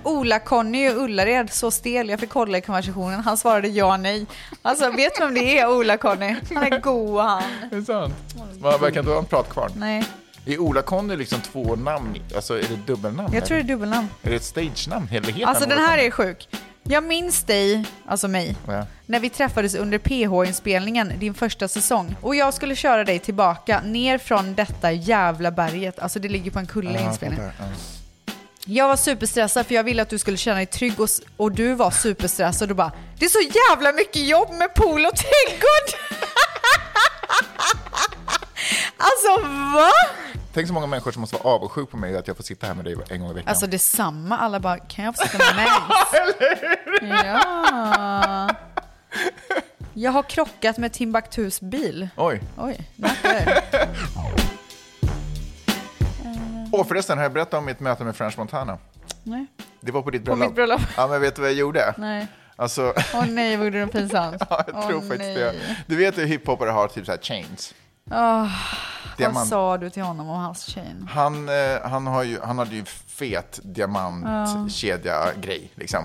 Speaker 4: Ola-Conny och Ullared, så stel. Jag fick kolla i konversationen. Han svarade ja, nej. Alltså, vet du vem det är, Ola-Conny? Han är god han.
Speaker 5: Det är sant. Man verkar inte vara en pratkvarn.
Speaker 4: Nej,
Speaker 5: Är Ola-Conny liksom två namn? Alltså är det dubbelnamn?
Speaker 4: jag tror det är
Speaker 5: eller?
Speaker 4: dubbelnamn.
Speaker 5: Är det ett stagenamn? Eller heter
Speaker 4: Alltså
Speaker 5: han
Speaker 4: den här
Speaker 5: Ola-Conny?
Speaker 4: är sjuk. Jag minns dig, alltså mig,
Speaker 5: Ja.
Speaker 4: när vi träffades under PH-inspelningen din första säsong. Och jag skulle köra dig tillbaka ner från detta jävla berget. Alltså det ligger på en kulle i
Speaker 5: Ja,
Speaker 4: inspelningen.
Speaker 5: fattar. Ja.
Speaker 4: Jag var superstressad för jag ville att du skulle känna dig trygg och, s- och du var superstressad och bara “Det är så jävla mycket jobb med pool och trädgård!” Alltså va?
Speaker 5: Tänk så många människor som måste vara avundsjuka på mig att jag får sitta här med dig en gång i veckan.
Speaker 4: Alltså detsamma, alla bara “Kan jag få sitta med mens?” Ja. Jag har krockat med Timbuktus bil.
Speaker 5: Oj.
Speaker 4: Oj, nackar.
Speaker 5: Och förresten, har jag berättat om mitt möte med French Montana?
Speaker 4: Nej.
Speaker 5: Det var på ditt bröllop.
Speaker 4: mitt bröllop.
Speaker 5: Ja, men vet du vad jag gjorde?
Speaker 4: Nej.
Speaker 5: Alltså,
Speaker 4: Åh nej, vad gjorde den pinsamt.
Speaker 5: ja, jag tror faktiskt det. Du vet hur hiphopare har typ så här chains.
Speaker 4: Åh, vad
Speaker 5: Diamant.
Speaker 4: sa du till honom om hans chain?
Speaker 5: Han, eh, han, har ju, han hade ju fet diamantkedja-grej. Liksom.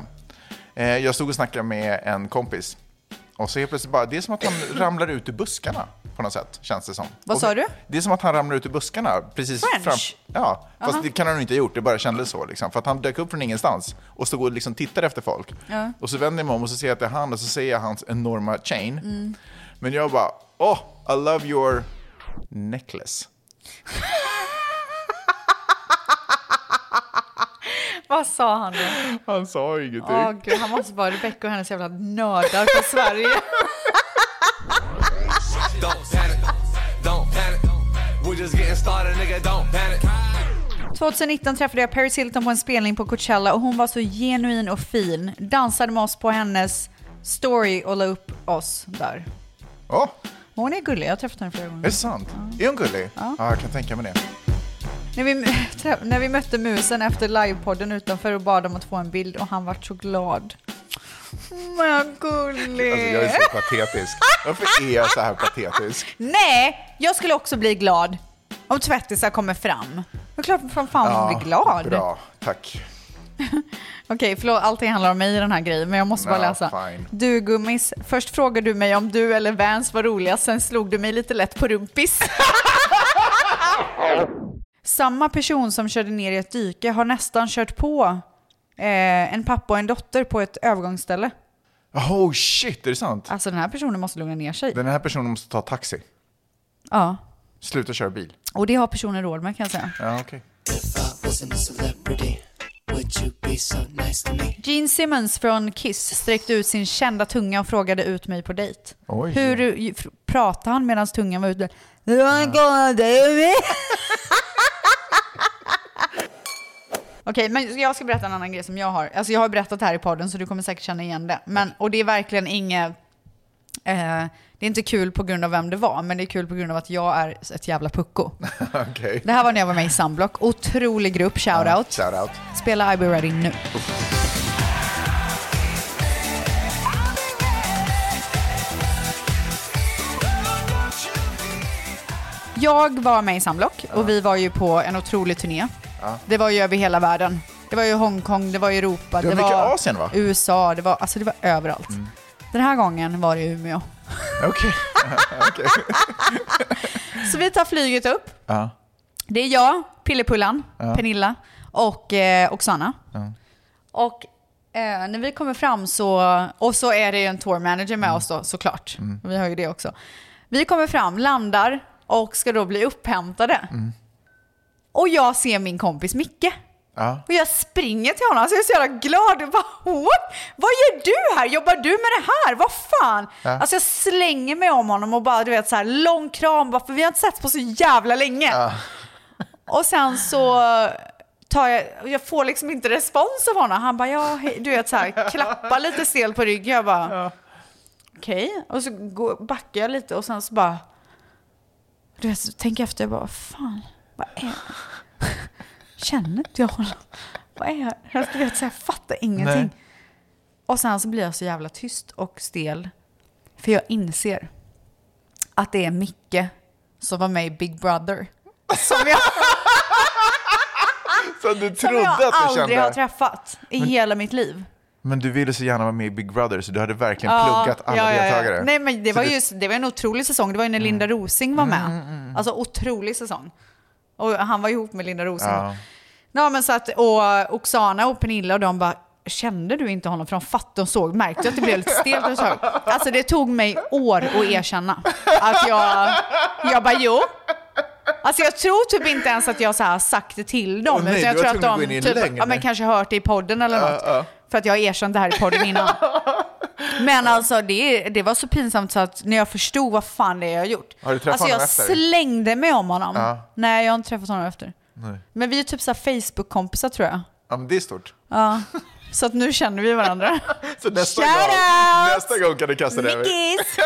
Speaker 5: Eh, jag stod och snackade med en kompis. Och så helt plötsligt bara, det är som att han ramlar ut ur buskarna på något sätt, känns det som.
Speaker 4: Vad
Speaker 5: Och-
Speaker 4: sa du?
Speaker 5: Det är som att han ramlar ut ur buskarna. Precis
Speaker 4: French?
Speaker 5: ja, fast
Speaker 4: Aha.
Speaker 5: det kan han ju inte ha gjort, det bara kändes så. Liksom. För att han dök upp från ingenstans och stod och liksom tittade efter folk.
Speaker 4: Ja.
Speaker 5: Och så vänder jag mig om och så ser jag att det är han och så ser jag hans enorma chain.
Speaker 4: Mm.
Speaker 5: Men jag bara, oh, I love your necklace.
Speaker 4: Vad sa han
Speaker 5: Typ.
Speaker 4: då?
Speaker 5: Han sa ju ingenting.
Speaker 4: Åh gud, han måste vara Rebecca och hennes jävla nördar från Sverige.
Speaker 23: Don't panic. Don't panic. We're just getting started, nigga. Don't panic.
Speaker 4: 2019 träffade jag Paris Hilton på en spelning på Coachella och hon var så genuin och fin. Dansade med oss på hennes story och la upp oss där.
Speaker 5: Ja.
Speaker 4: Hon är gullig, jag har träffat henne flera gånger.
Speaker 5: Är det sant? Är hon gullig? Ja. jag kan tänka mig det.
Speaker 4: När vi, trä- när vi mötte musen efter livepodden utanför och bad om att få en bild och han vart så glad. Mm, Vad gullig.
Speaker 5: Alltså, jag är så
Speaker 4: Eh.
Speaker 5: patetisk. Varför är jag så här patetisk?
Speaker 4: Nej, jag skulle också bli glad om tvättisar kommer fram. Det är klart som fan man blir glad.
Speaker 5: Bra, tack.
Speaker 4: Okej, förlåt, allting handlar om mig i den här grejen, men jag måste bara
Speaker 5: Nah,
Speaker 4: läsa.
Speaker 5: fine.
Speaker 4: Du Gummis, först frågade du mig om du eller Vans var roligast, sen slog du mig lite lätt på rumpis. Samma person som körde ner i ett dike har nästan kört på eh, en pappa och en dotter på ett övergångsställe.
Speaker 5: Oh shit, är det sant?
Speaker 4: Alltså den här personen måste lugna ner sig.
Speaker 5: Den här personen måste ta taxi.
Speaker 4: Ja,
Speaker 5: Sluta köra bil.
Speaker 4: och det har personen råd med kan jag säga.
Speaker 5: Ja, okej.
Speaker 15: If I wasn't a celebrity, would you be so nice to me?
Speaker 4: Gene Simmons från Kiss sträckte ut sin kända tunga och frågade ut mig på dejt.
Speaker 5: Oj.
Speaker 4: Hur f- pratade han medan tungan var ute? You ain't gonna do me. Okej, men jag ska berätta en annan grej som jag har. Alltså jag har berättat här i podden så du kommer säkert känna igen det. Men, och det är verkligen inget... Eh, det är inte kul på grund av vem det var, men det är kul på grund av att jag är ett jävla pucko.
Speaker 5: Okej.
Speaker 4: Det här var när jag var med i Sunblock. Otrolig grupp, shoutout.
Speaker 5: Shoutout.
Speaker 4: Spela I Be Ready nu. Jag var med i Sunblock och vi var ju på en otrolig turné.
Speaker 5: Ja.
Speaker 4: Det var ju över hela världen. Det var ju Hongkong, det var Europa,
Speaker 5: Det
Speaker 4: det
Speaker 5: var
Speaker 4: var,
Speaker 5: mycket Asien, va? Mm.
Speaker 4: USA, det var, alltså det var överallt. Den här gången var det Umeå.
Speaker 5: Okej. Okej.
Speaker 4: Så vi tar flyget upp.
Speaker 5: Ja.
Speaker 4: Det är jag, Pillepullan,
Speaker 5: Ja.
Speaker 4: Pernilla och eh, Oksana.
Speaker 5: Ja.
Speaker 4: Och eh, när vi kommer fram så, och så är det ju en tour manager med oss då såklart.
Speaker 5: Mm.
Speaker 4: Vi har ju det också. Vi kommer fram, landar och ska då bli upphämtade.
Speaker 5: Mm.
Speaker 4: Och jag ser min kompis Micke.
Speaker 5: Ja.
Speaker 4: Och jag springer till honom, så jag är så jävla glad. Jag bara, What? Vad gör du här? Jobbar du med det här? Vad fan?
Speaker 5: Ja.
Speaker 4: Alltså jag slänger mig om honom och bara, du vet, så här lång kram, bara, för vi har inte setts på så jävla länge. Och sen så tar jag, jag får liksom inte respons av honom. Han bara, ja, hej. du vet så här, klappar lite stel på ryggen. Jag bara, okej. Och så går, backar jag lite och sen så bara, du vet, så tänker jag efter, jag bara, fan, vad är Känner inte jag honom? Vad är jag? Jag, du vet, så här, jag fattar ingenting.
Speaker 5: Nej.
Speaker 4: Och sen så blir jag så jävla tyst och stel. För jag inser att det är Micke som var med i Big Brother. Som jag,
Speaker 5: Så
Speaker 4: som
Speaker 5: du trodde
Speaker 4: jag
Speaker 5: att du
Speaker 4: aldrig har
Speaker 5: kände...
Speaker 4: träffat i hela mitt liv.
Speaker 5: Men du ville så gärna vara med i Big Brother så du hade verkligen
Speaker 4: Ja,
Speaker 5: pluggat alla
Speaker 4: ja, ja, ja.
Speaker 5: deltagare.
Speaker 4: Nej, men det
Speaker 5: Så
Speaker 4: var,
Speaker 5: Mm. du-
Speaker 4: ju, det var en otrolig säsong. Det var ju när Linda Rosing var med.
Speaker 5: mm,
Speaker 4: Alltså otrolig säsong. Och han var ihop med Linda Rosing.
Speaker 5: Ja.
Speaker 4: Ja, men så att, och Oksana och Pernilla och de bara, kände du inte honom? För de fattade, de såg, märkte att det blev lite stelt och så. Alltså det tog mig år att erkänna att jag, jag bara jo. Alltså jag tror typ inte ens att jag så här sagt det till dem.
Speaker 5: Åh, nej,
Speaker 4: utan jag
Speaker 5: du var
Speaker 4: tror att
Speaker 5: tvungen
Speaker 4: de
Speaker 5: att gå in i en
Speaker 4: typ,
Speaker 5: lögn,
Speaker 4: ja, men
Speaker 5: nej.
Speaker 4: kanske hört det i podden eller
Speaker 5: Ja,
Speaker 4: något.
Speaker 5: ja.
Speaker 4: För att jag har erkänt det här i podden innan. Men alltså det, det var så pinsamt så att när jag förstod vad fan det är jag har gjort.
Speaker 5: Har du träffat
Speaker 4: alltså jag
Speaker 5: honom efter?
Speaker 4: slängde mig om honom.
Speaker 5: Ja.
Speaker 4: Nej, jag har inte träffat honom efter.
Speaker 5: Nej.
Speaker 4: Men vi är typ så här Facebook-kompisar tror jag.
Speaker 5: Ja, men det är stort.
Speaker 4: Ja. Så att nu känner vi varandra.
Speaker 5: Så nästa,
Speaker 4: Shout
Speaker 5: gång,
Speaker 4: out!
Speaker 5: nästa gång kan du kasta det över.
Speaker 4: Mickis!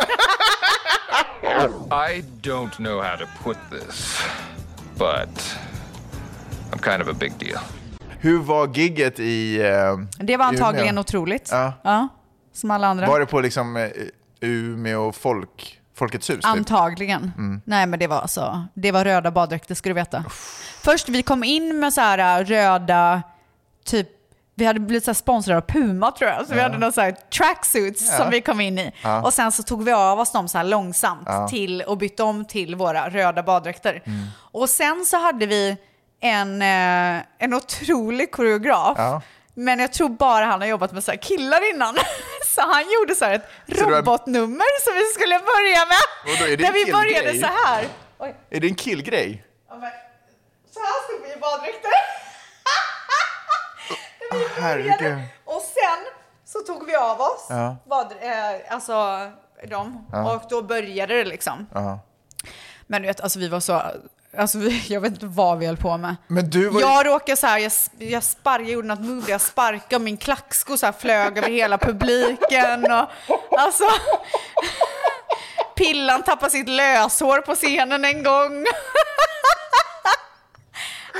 Speaker 24: I don't know how to put this, but I'm kind of a big deal.
Speaker 5: Hur var gigget i eh,
Speaker 4: Det var antagligen
Speaker 5: Umeå?
Speaker 4: otroligt.
Speaker 5: Ja.
Speaker 4: Ja, som alla andra.
Speaker 5: Var det på liksom eh, Umeå folk, Folkets hus? Typ?
Speaker 4: Antagligen.
Speaker 5: Mm.
Speaker 4: Nej men det var alltså, det var röda baddräkter ska du veta. Först vi kom in med så här äh, röda, typ, vi hade blivit så här sponsrade av Puma tror jag, så vi
Speaker 5: Ja.
Speaker 4: hade några så här tracksuits
Speaker 5: Ja.
Speaker 4: som vi kom in i.
Speaker 5: Ja.
Speaker 4: Och sen så tog vi av oss dem så här långsamt
Speaker 5: Ja. Mm.
Speaker 4: till och bytte om till våra röda baddräkter. Och sen så hade vi en, eh, en otrolig koreograf.
Speaker 5: Ja.
Speaker 4: Men jag tror bara han har jobbat med så här killar innan. Så han gjorde så här ett
Speaker 5: Så du har-
Speaker 4: robotnummer som vi skulle börja med.
Speaker 5: Vadå, är det
Speaker 4: När
Speaker 5: en
Speaker 4: vi
Speaker 5: killgrej?
Speaker 4: började så här. Oj,
Speaker 5: Är det en killgrej?
Speaker 4: så här stod vi i baddräkter. När vi
Speaker 5: herregud.
Speaker 4: började. Och sen så tog vi av oss
Speaker 5: Ja.
Speaker 4: bad, eh, alltså, dem
Speaker 5: Ja.
Speaker 4: och då började det liksom.
Speaker 5: Ja.
Speaker 4: Men du vet, alltså vi var så... Alltså vi, jag vet inte vad vi höll på med.
Speaker 5: Men du var ju-
Speaker 4: jag råkade så här, jag, jag, spar, jag gjorde något move där jag sparkade och min klacksko så här flög över hela publiken. Och, alltså, pillan tappade sitt löshår på scenen en gång.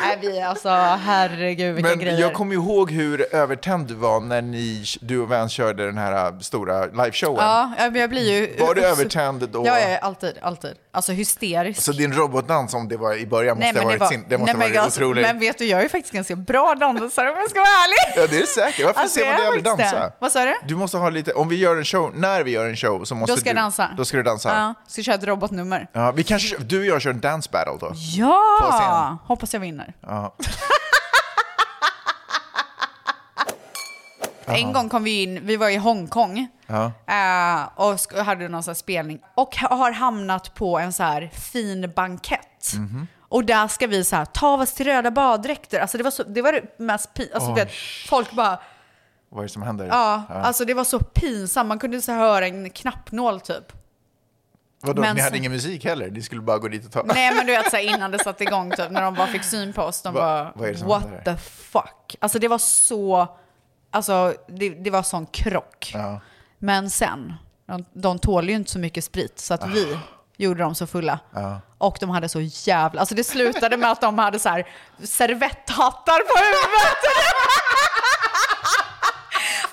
Speaker 4: Nej, vi alltså, herregud vilka
Speaker 5: Men
Speaker 4: grejer.
Speaker 5: jag kommer ihåg hur övertänd du var när ni, du och Vans körde den här äh, stora liveshowen.
Speaker 4: Ja, jag jag blir ju...
Speaker 5: Var du övertänd då?
Speaker 4: Ja, ja, alltid, alltid. Alltså hysterisk.
Speaker 5: Så din robotdans, om det var i början, måste ha
Speaker 4: det
Speaker 5: varit, sin, det
Speaker 4: nej,
Speaker 5: måste ha
Speaker 4: men
Speaker 5: varit
Speaker 4: alltså,
Speaker 5: otrolig.
Speaker 4: Men vet du, jag är faktiskt ganska bra dansare om jag ska vara ärlig.
Speaker 5: Ja, det är säkert. Varför
Speaker 4: Alltså,
Speaker 5: ser man
Speaker 4: jag
Speaker 5: dig
Speaker 4: är
Speaker 5: aldrig
Speaker 4: faktiskt
Speaker 5: dansa?
Speaker 4: det. Vad sa du?
Speaker 5: Du måste ha lite, om vi gör en show, när vi gör en show så måste
Speaker 4: Då ska
Speaker 5: du...
Speaker 4: jag dansa.
Speaker 5: Då ska du dansa.
Speaker 4: Ja, ska köra ett robotnummer.
Speaker 5: Ja, vi kanske, kör- du och jag kör en dance battle då. På scen.
Speaker 4: Ja! Hoppas jag vinner.
Speaker 5: Ja.
Speaker 4: En gång kom vi in, vi var i Hongkong
Speaker 5: Ja.
Speaker 4: eh, och sk- hade någon sån här spelning. Och ha- har hamnat på en så här fin bankett.
Speaker 5: Mhm.
Speaker 4: Och där ska vi så här, ta oss till röda baddräkter. Alltså det var, så, det, var det mest pin- alltså,
Speaker 5: Oj.
Speaker 4: du vet, Folk bara,
Speaker 5: Vad är det som händer?
Speaker 4: ja, alltså det var så pinsamt. Man kunde så här höra en knappnål typ.
Speaker 5: Vadå,
Speaker 4: men
Speaker 5: ni hade
Speaker 4: sen-
Speaker 5: ingen musik heller? Ni skulle bara gå dit och ta...
Speaker 4: Nej men du vet så här, innan det satte igång typ, när de bara fick syn på oss. De
Speaker 5: Va-
Speaker 4: bara,
Speaker 5: vad är det som
Speaker 4: what
Speaker 5: händer?
Speaker 4: the fuck? Alltså det var så, alltså det, det var sån krock. Men sen, de, de tål ju inte så mycket sprit så att vi gjorde dem så fulla.
Speaker 5: Ah. Ja.
Speaker 4: Och de hade så jävla, alltså det slutade med att de hade så här servetthattar på huvudet.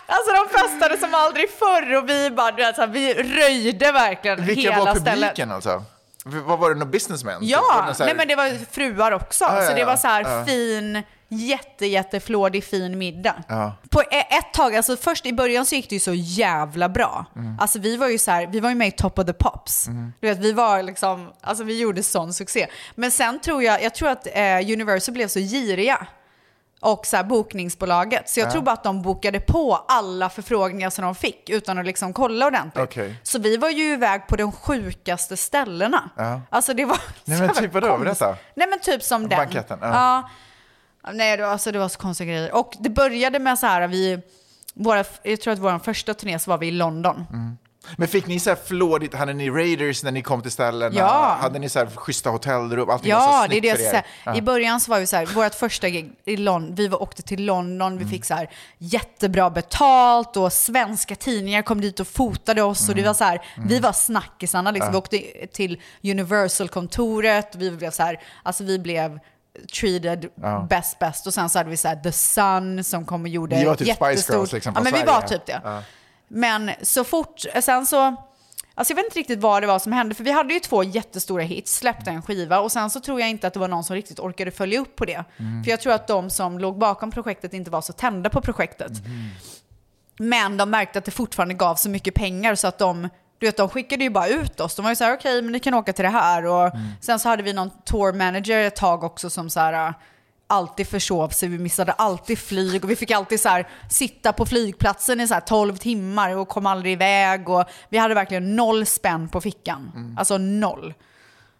Speaker 4: Alltså de festade som aldrig förr och vi bara, du vet, så här, vi röjde verkligen
Speaker 5: Vilka
Speaker 4: hela
Speaker 5: var publiken
Speaker 4: stället.
Speaker 5: alltså? V- Vad var det, någon businessman? Typ,
Speaker 4: Ja,
Speaker 5: var det så här-
Speaker 4: nej men det var fruar också.
Speaker 5: Ja, ja,
Speaker 4: Så det
Speaker 5: ja.
Speaker 4: var så här
Speaker 5: Ja.
Speaker 4: fin, jätte, jätteflådig fin middag.
Speaker 5: Ja.
Speaker 4: På e- ett tag, alltså först i början så gick det ju så jävla bra.
Speaker 5: Mm.
Speaker 4: Alltså vi var ju så här, vi var ju med i Top of the Pops.
Speaker 5: Mm.
Speaker 4: Du vet, vi var liksom, alltså vi gjorde sån succé. Men sen tror jag, jag tror att eh, Universal blev så giriga. Och så här bokningsbolaget. Så jag
Speaker 5: Ja.
Speaker 4: tror bara att de bokade på alla förfrågningar som de fick utan att liksom kolla ordentligt.
Speaker 5: Okej.
Speaker 4: Så vi var ju iväg på de sjukaste ställena.
Speaker 5: Ja.
Speaker 4: Alltså det var...
Speaker 5: Nej men
Speaker 4: så
Speaker 5: typ vadå, berätta.
Speaker 4: Nej men typ som den.
Speaker 5: Banketten, ja.
Speaker 4: Ja. Nej, det var, alltså, det var så konstiga grejer. Och det började med så här, vi, våra, jag tror att vår första turné så var vi i London.
Speaker 5: Mm. Men fick ni så här flådigt, hade ni raiders när ni kom till ställena?
Speaker 4: Ja.
Speaker 5: Hade ni så här schyssta hotellrum? Allting
Speaker 4: Ja,
Speaker 5: var så
Speaker 4: det är
Speaker 5: snyggt
Speaker 4: det jag
Speaker 5: för er.
Speaker 4: ska säga.
Speaker 5: alltså, Ja.
Speaker 4: I början så var vi så här, vårt första gig i London, vi var, åkte till London,
Speaker 5: Mm.
Speaker 4: vi fick så här jättebra betalt och svenska tidningar kom dit och fotade oss och det var så här, vi var snackisarna liksom.
Speaker 5: Mm. Ja.
Speaker 4: Vi åkte till Universal-kontoret, vi blev så här, alltså vi blev treated
Speaker 5: Ja.
Speaker 4: bäst, bäst och sen så hade vi så här The Sun som kom och gjorde
Speaker 5: Ni var typ Spice
Speaker 4: jättestort-
Speaker 5: Girls liksom,
Speaker 4: Ja
Speaker 5: från
Speaker 4: men vi
Speaker 5: Sverige.
Speaker 4: var typ det.
Speaker 5: Ja.
Speaker 4: Men så fort, sen så, alltså jag vet inte riktigt vad det var som hände, för vi hade ju två jättestora hits, släppte en skiva och sen så tror jag inte att det var någon som riktigt orkade följa upp på det.
Speaker 5: Mm.
Speaker 4: För jag tror att de som låg bakom projektet inte var så tända på projektet. Men de märkte att det fortfarande gav så mycket pengar så att de, du vet, de skickade ju bara ut oss. De var ju så här, okej, men ni kan åka till det här. Och Sen så hade vi någon tour manager ett tag också som så här, äh, alltid försov sig, vi missade alltid flyg och vi fick alltid så här, sitta på flygplatsen i så här 12 timmar och kom aldrig iväg. Och vi hade verkligen noll spänn på fickan. Alltså noll.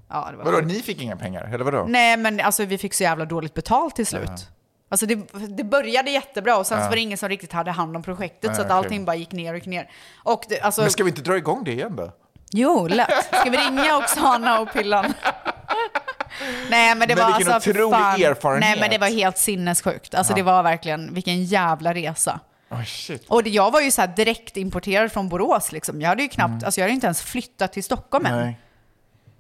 Speaker 4: Ja, det var
Speaker 5: Vadå, ni fick inga pengar? Eller vadå?
Speaker 4: Nej, men alltså, vi fick så jävla dåligt betalt till slut.
Speaker 5: Ja.
Speaker 4: Alltså det, det började jättebra och sen
Speaker 5: Ja.
Speaker 4: så var det ingen som riktigt hade hand om projektet så
Speaker 5: Nej,
Speaker 4: att
Speaker 5: okej.
Speaker 4: allting bara gick ner och gick ner. Och det, alltså,
Speaker 5: Men ska vi inte dra igång det igen då?
Speaker 4: Jo, lätt. Ska vi ringa Oksana och Pillan? Nej, men det
Speaker 5: Men
Speaker 4: var
Speaker 5: vilken
Speaker 4: alltså...
Speaker 5: otrolig
Speaker 4: fan-
Speaker 5: erfarenhet.
Speaker 4: Nej, men det var helt sinnessjukt. Alltså
Speaker 5: Ja.
Speaker 4: det var verkligen, vilken jävla resa.
Speaker 5: Oh, shit.
Speaker 4: Och det, jag var ju så här direkt importerad från Borås liksom. Jag hade ju knappt,
Speaker 5: Mm.
Speaker 4: alltså jag hade ju inte ens flyttat till Stockholm än.
Speaker 5: Nej.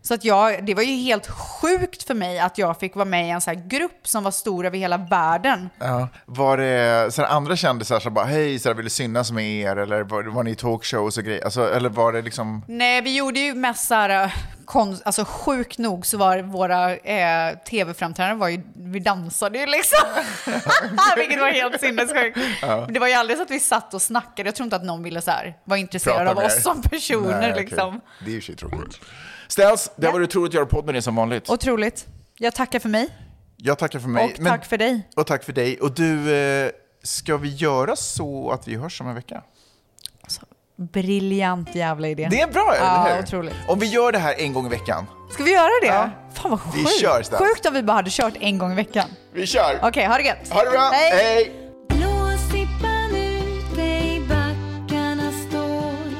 Speaker 4: Så att jag, det var ju helt sjukt för mig att jag fick vara med i en så här grupp som var stor över hela världen.
Speaker 5: Ja. Var det så här, andra kändisar som bara, hej, så här, vill du synas med er? Eller var, var ni i talkshows och grejer? Alltså, eller var det liksom...
Speaker 4: Nej, vi gjorde ju mest så här, äh, konst, alltså sjukt nog så var våra eh, tv-framträdanden var ju, vi dansade ju liksom. Vilket var helt sinnessjukt.
Speaker 5: Ja.
Speaker 4: Men Det var ju aldrig så att vi satt och snackade, jag tror inte att någon ville så här, var intresserad
Speaker 5: Prata
Speaker 4: av
Speaker 5: med er.
Speaker 4: oss som personer
Speaker 5: Nej, okej.
Speaker 4: liksom.
Speaker 5: Det är ju sig tråkigt. Ställs, det har varit otroligt att göra podd med dig som vanligt.
Speaker 4: Otroligt. Jag tackar för mig.
Speaker 5: Jag tackar för mig.
Speaker 4: Och tack för dig.
Speaker 5: Och tack för dig. Och du, eh, ska vi göra så att vi hörs om en vecka?
Speaker 4: Briljant jävla idé.
Speaker 5: Det är bra, eller
Speaker 4: Ja,
Speaker 5: hur?
Speaker 4: otroligt.
Speaker 5: Om vi gör det här en gång i veckan.
Speaker 4: Ska vi göra det? Fan vad
Speaker 5: Vi
Speaker 4: sjukt.
Speaker 5: kör, Stan.
Speaker 4: sjukt om vi bara hade kört en gång i veckan.
Speaker 5: Vi kör!
Speaker 4: Okej, ha det gött.
Speaker 5: Ha det bra! Hej!
Speaker 25: Blås i ut, ej backarna står.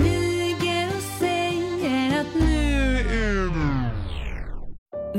Speaker 25: Niger och säger att nu är det...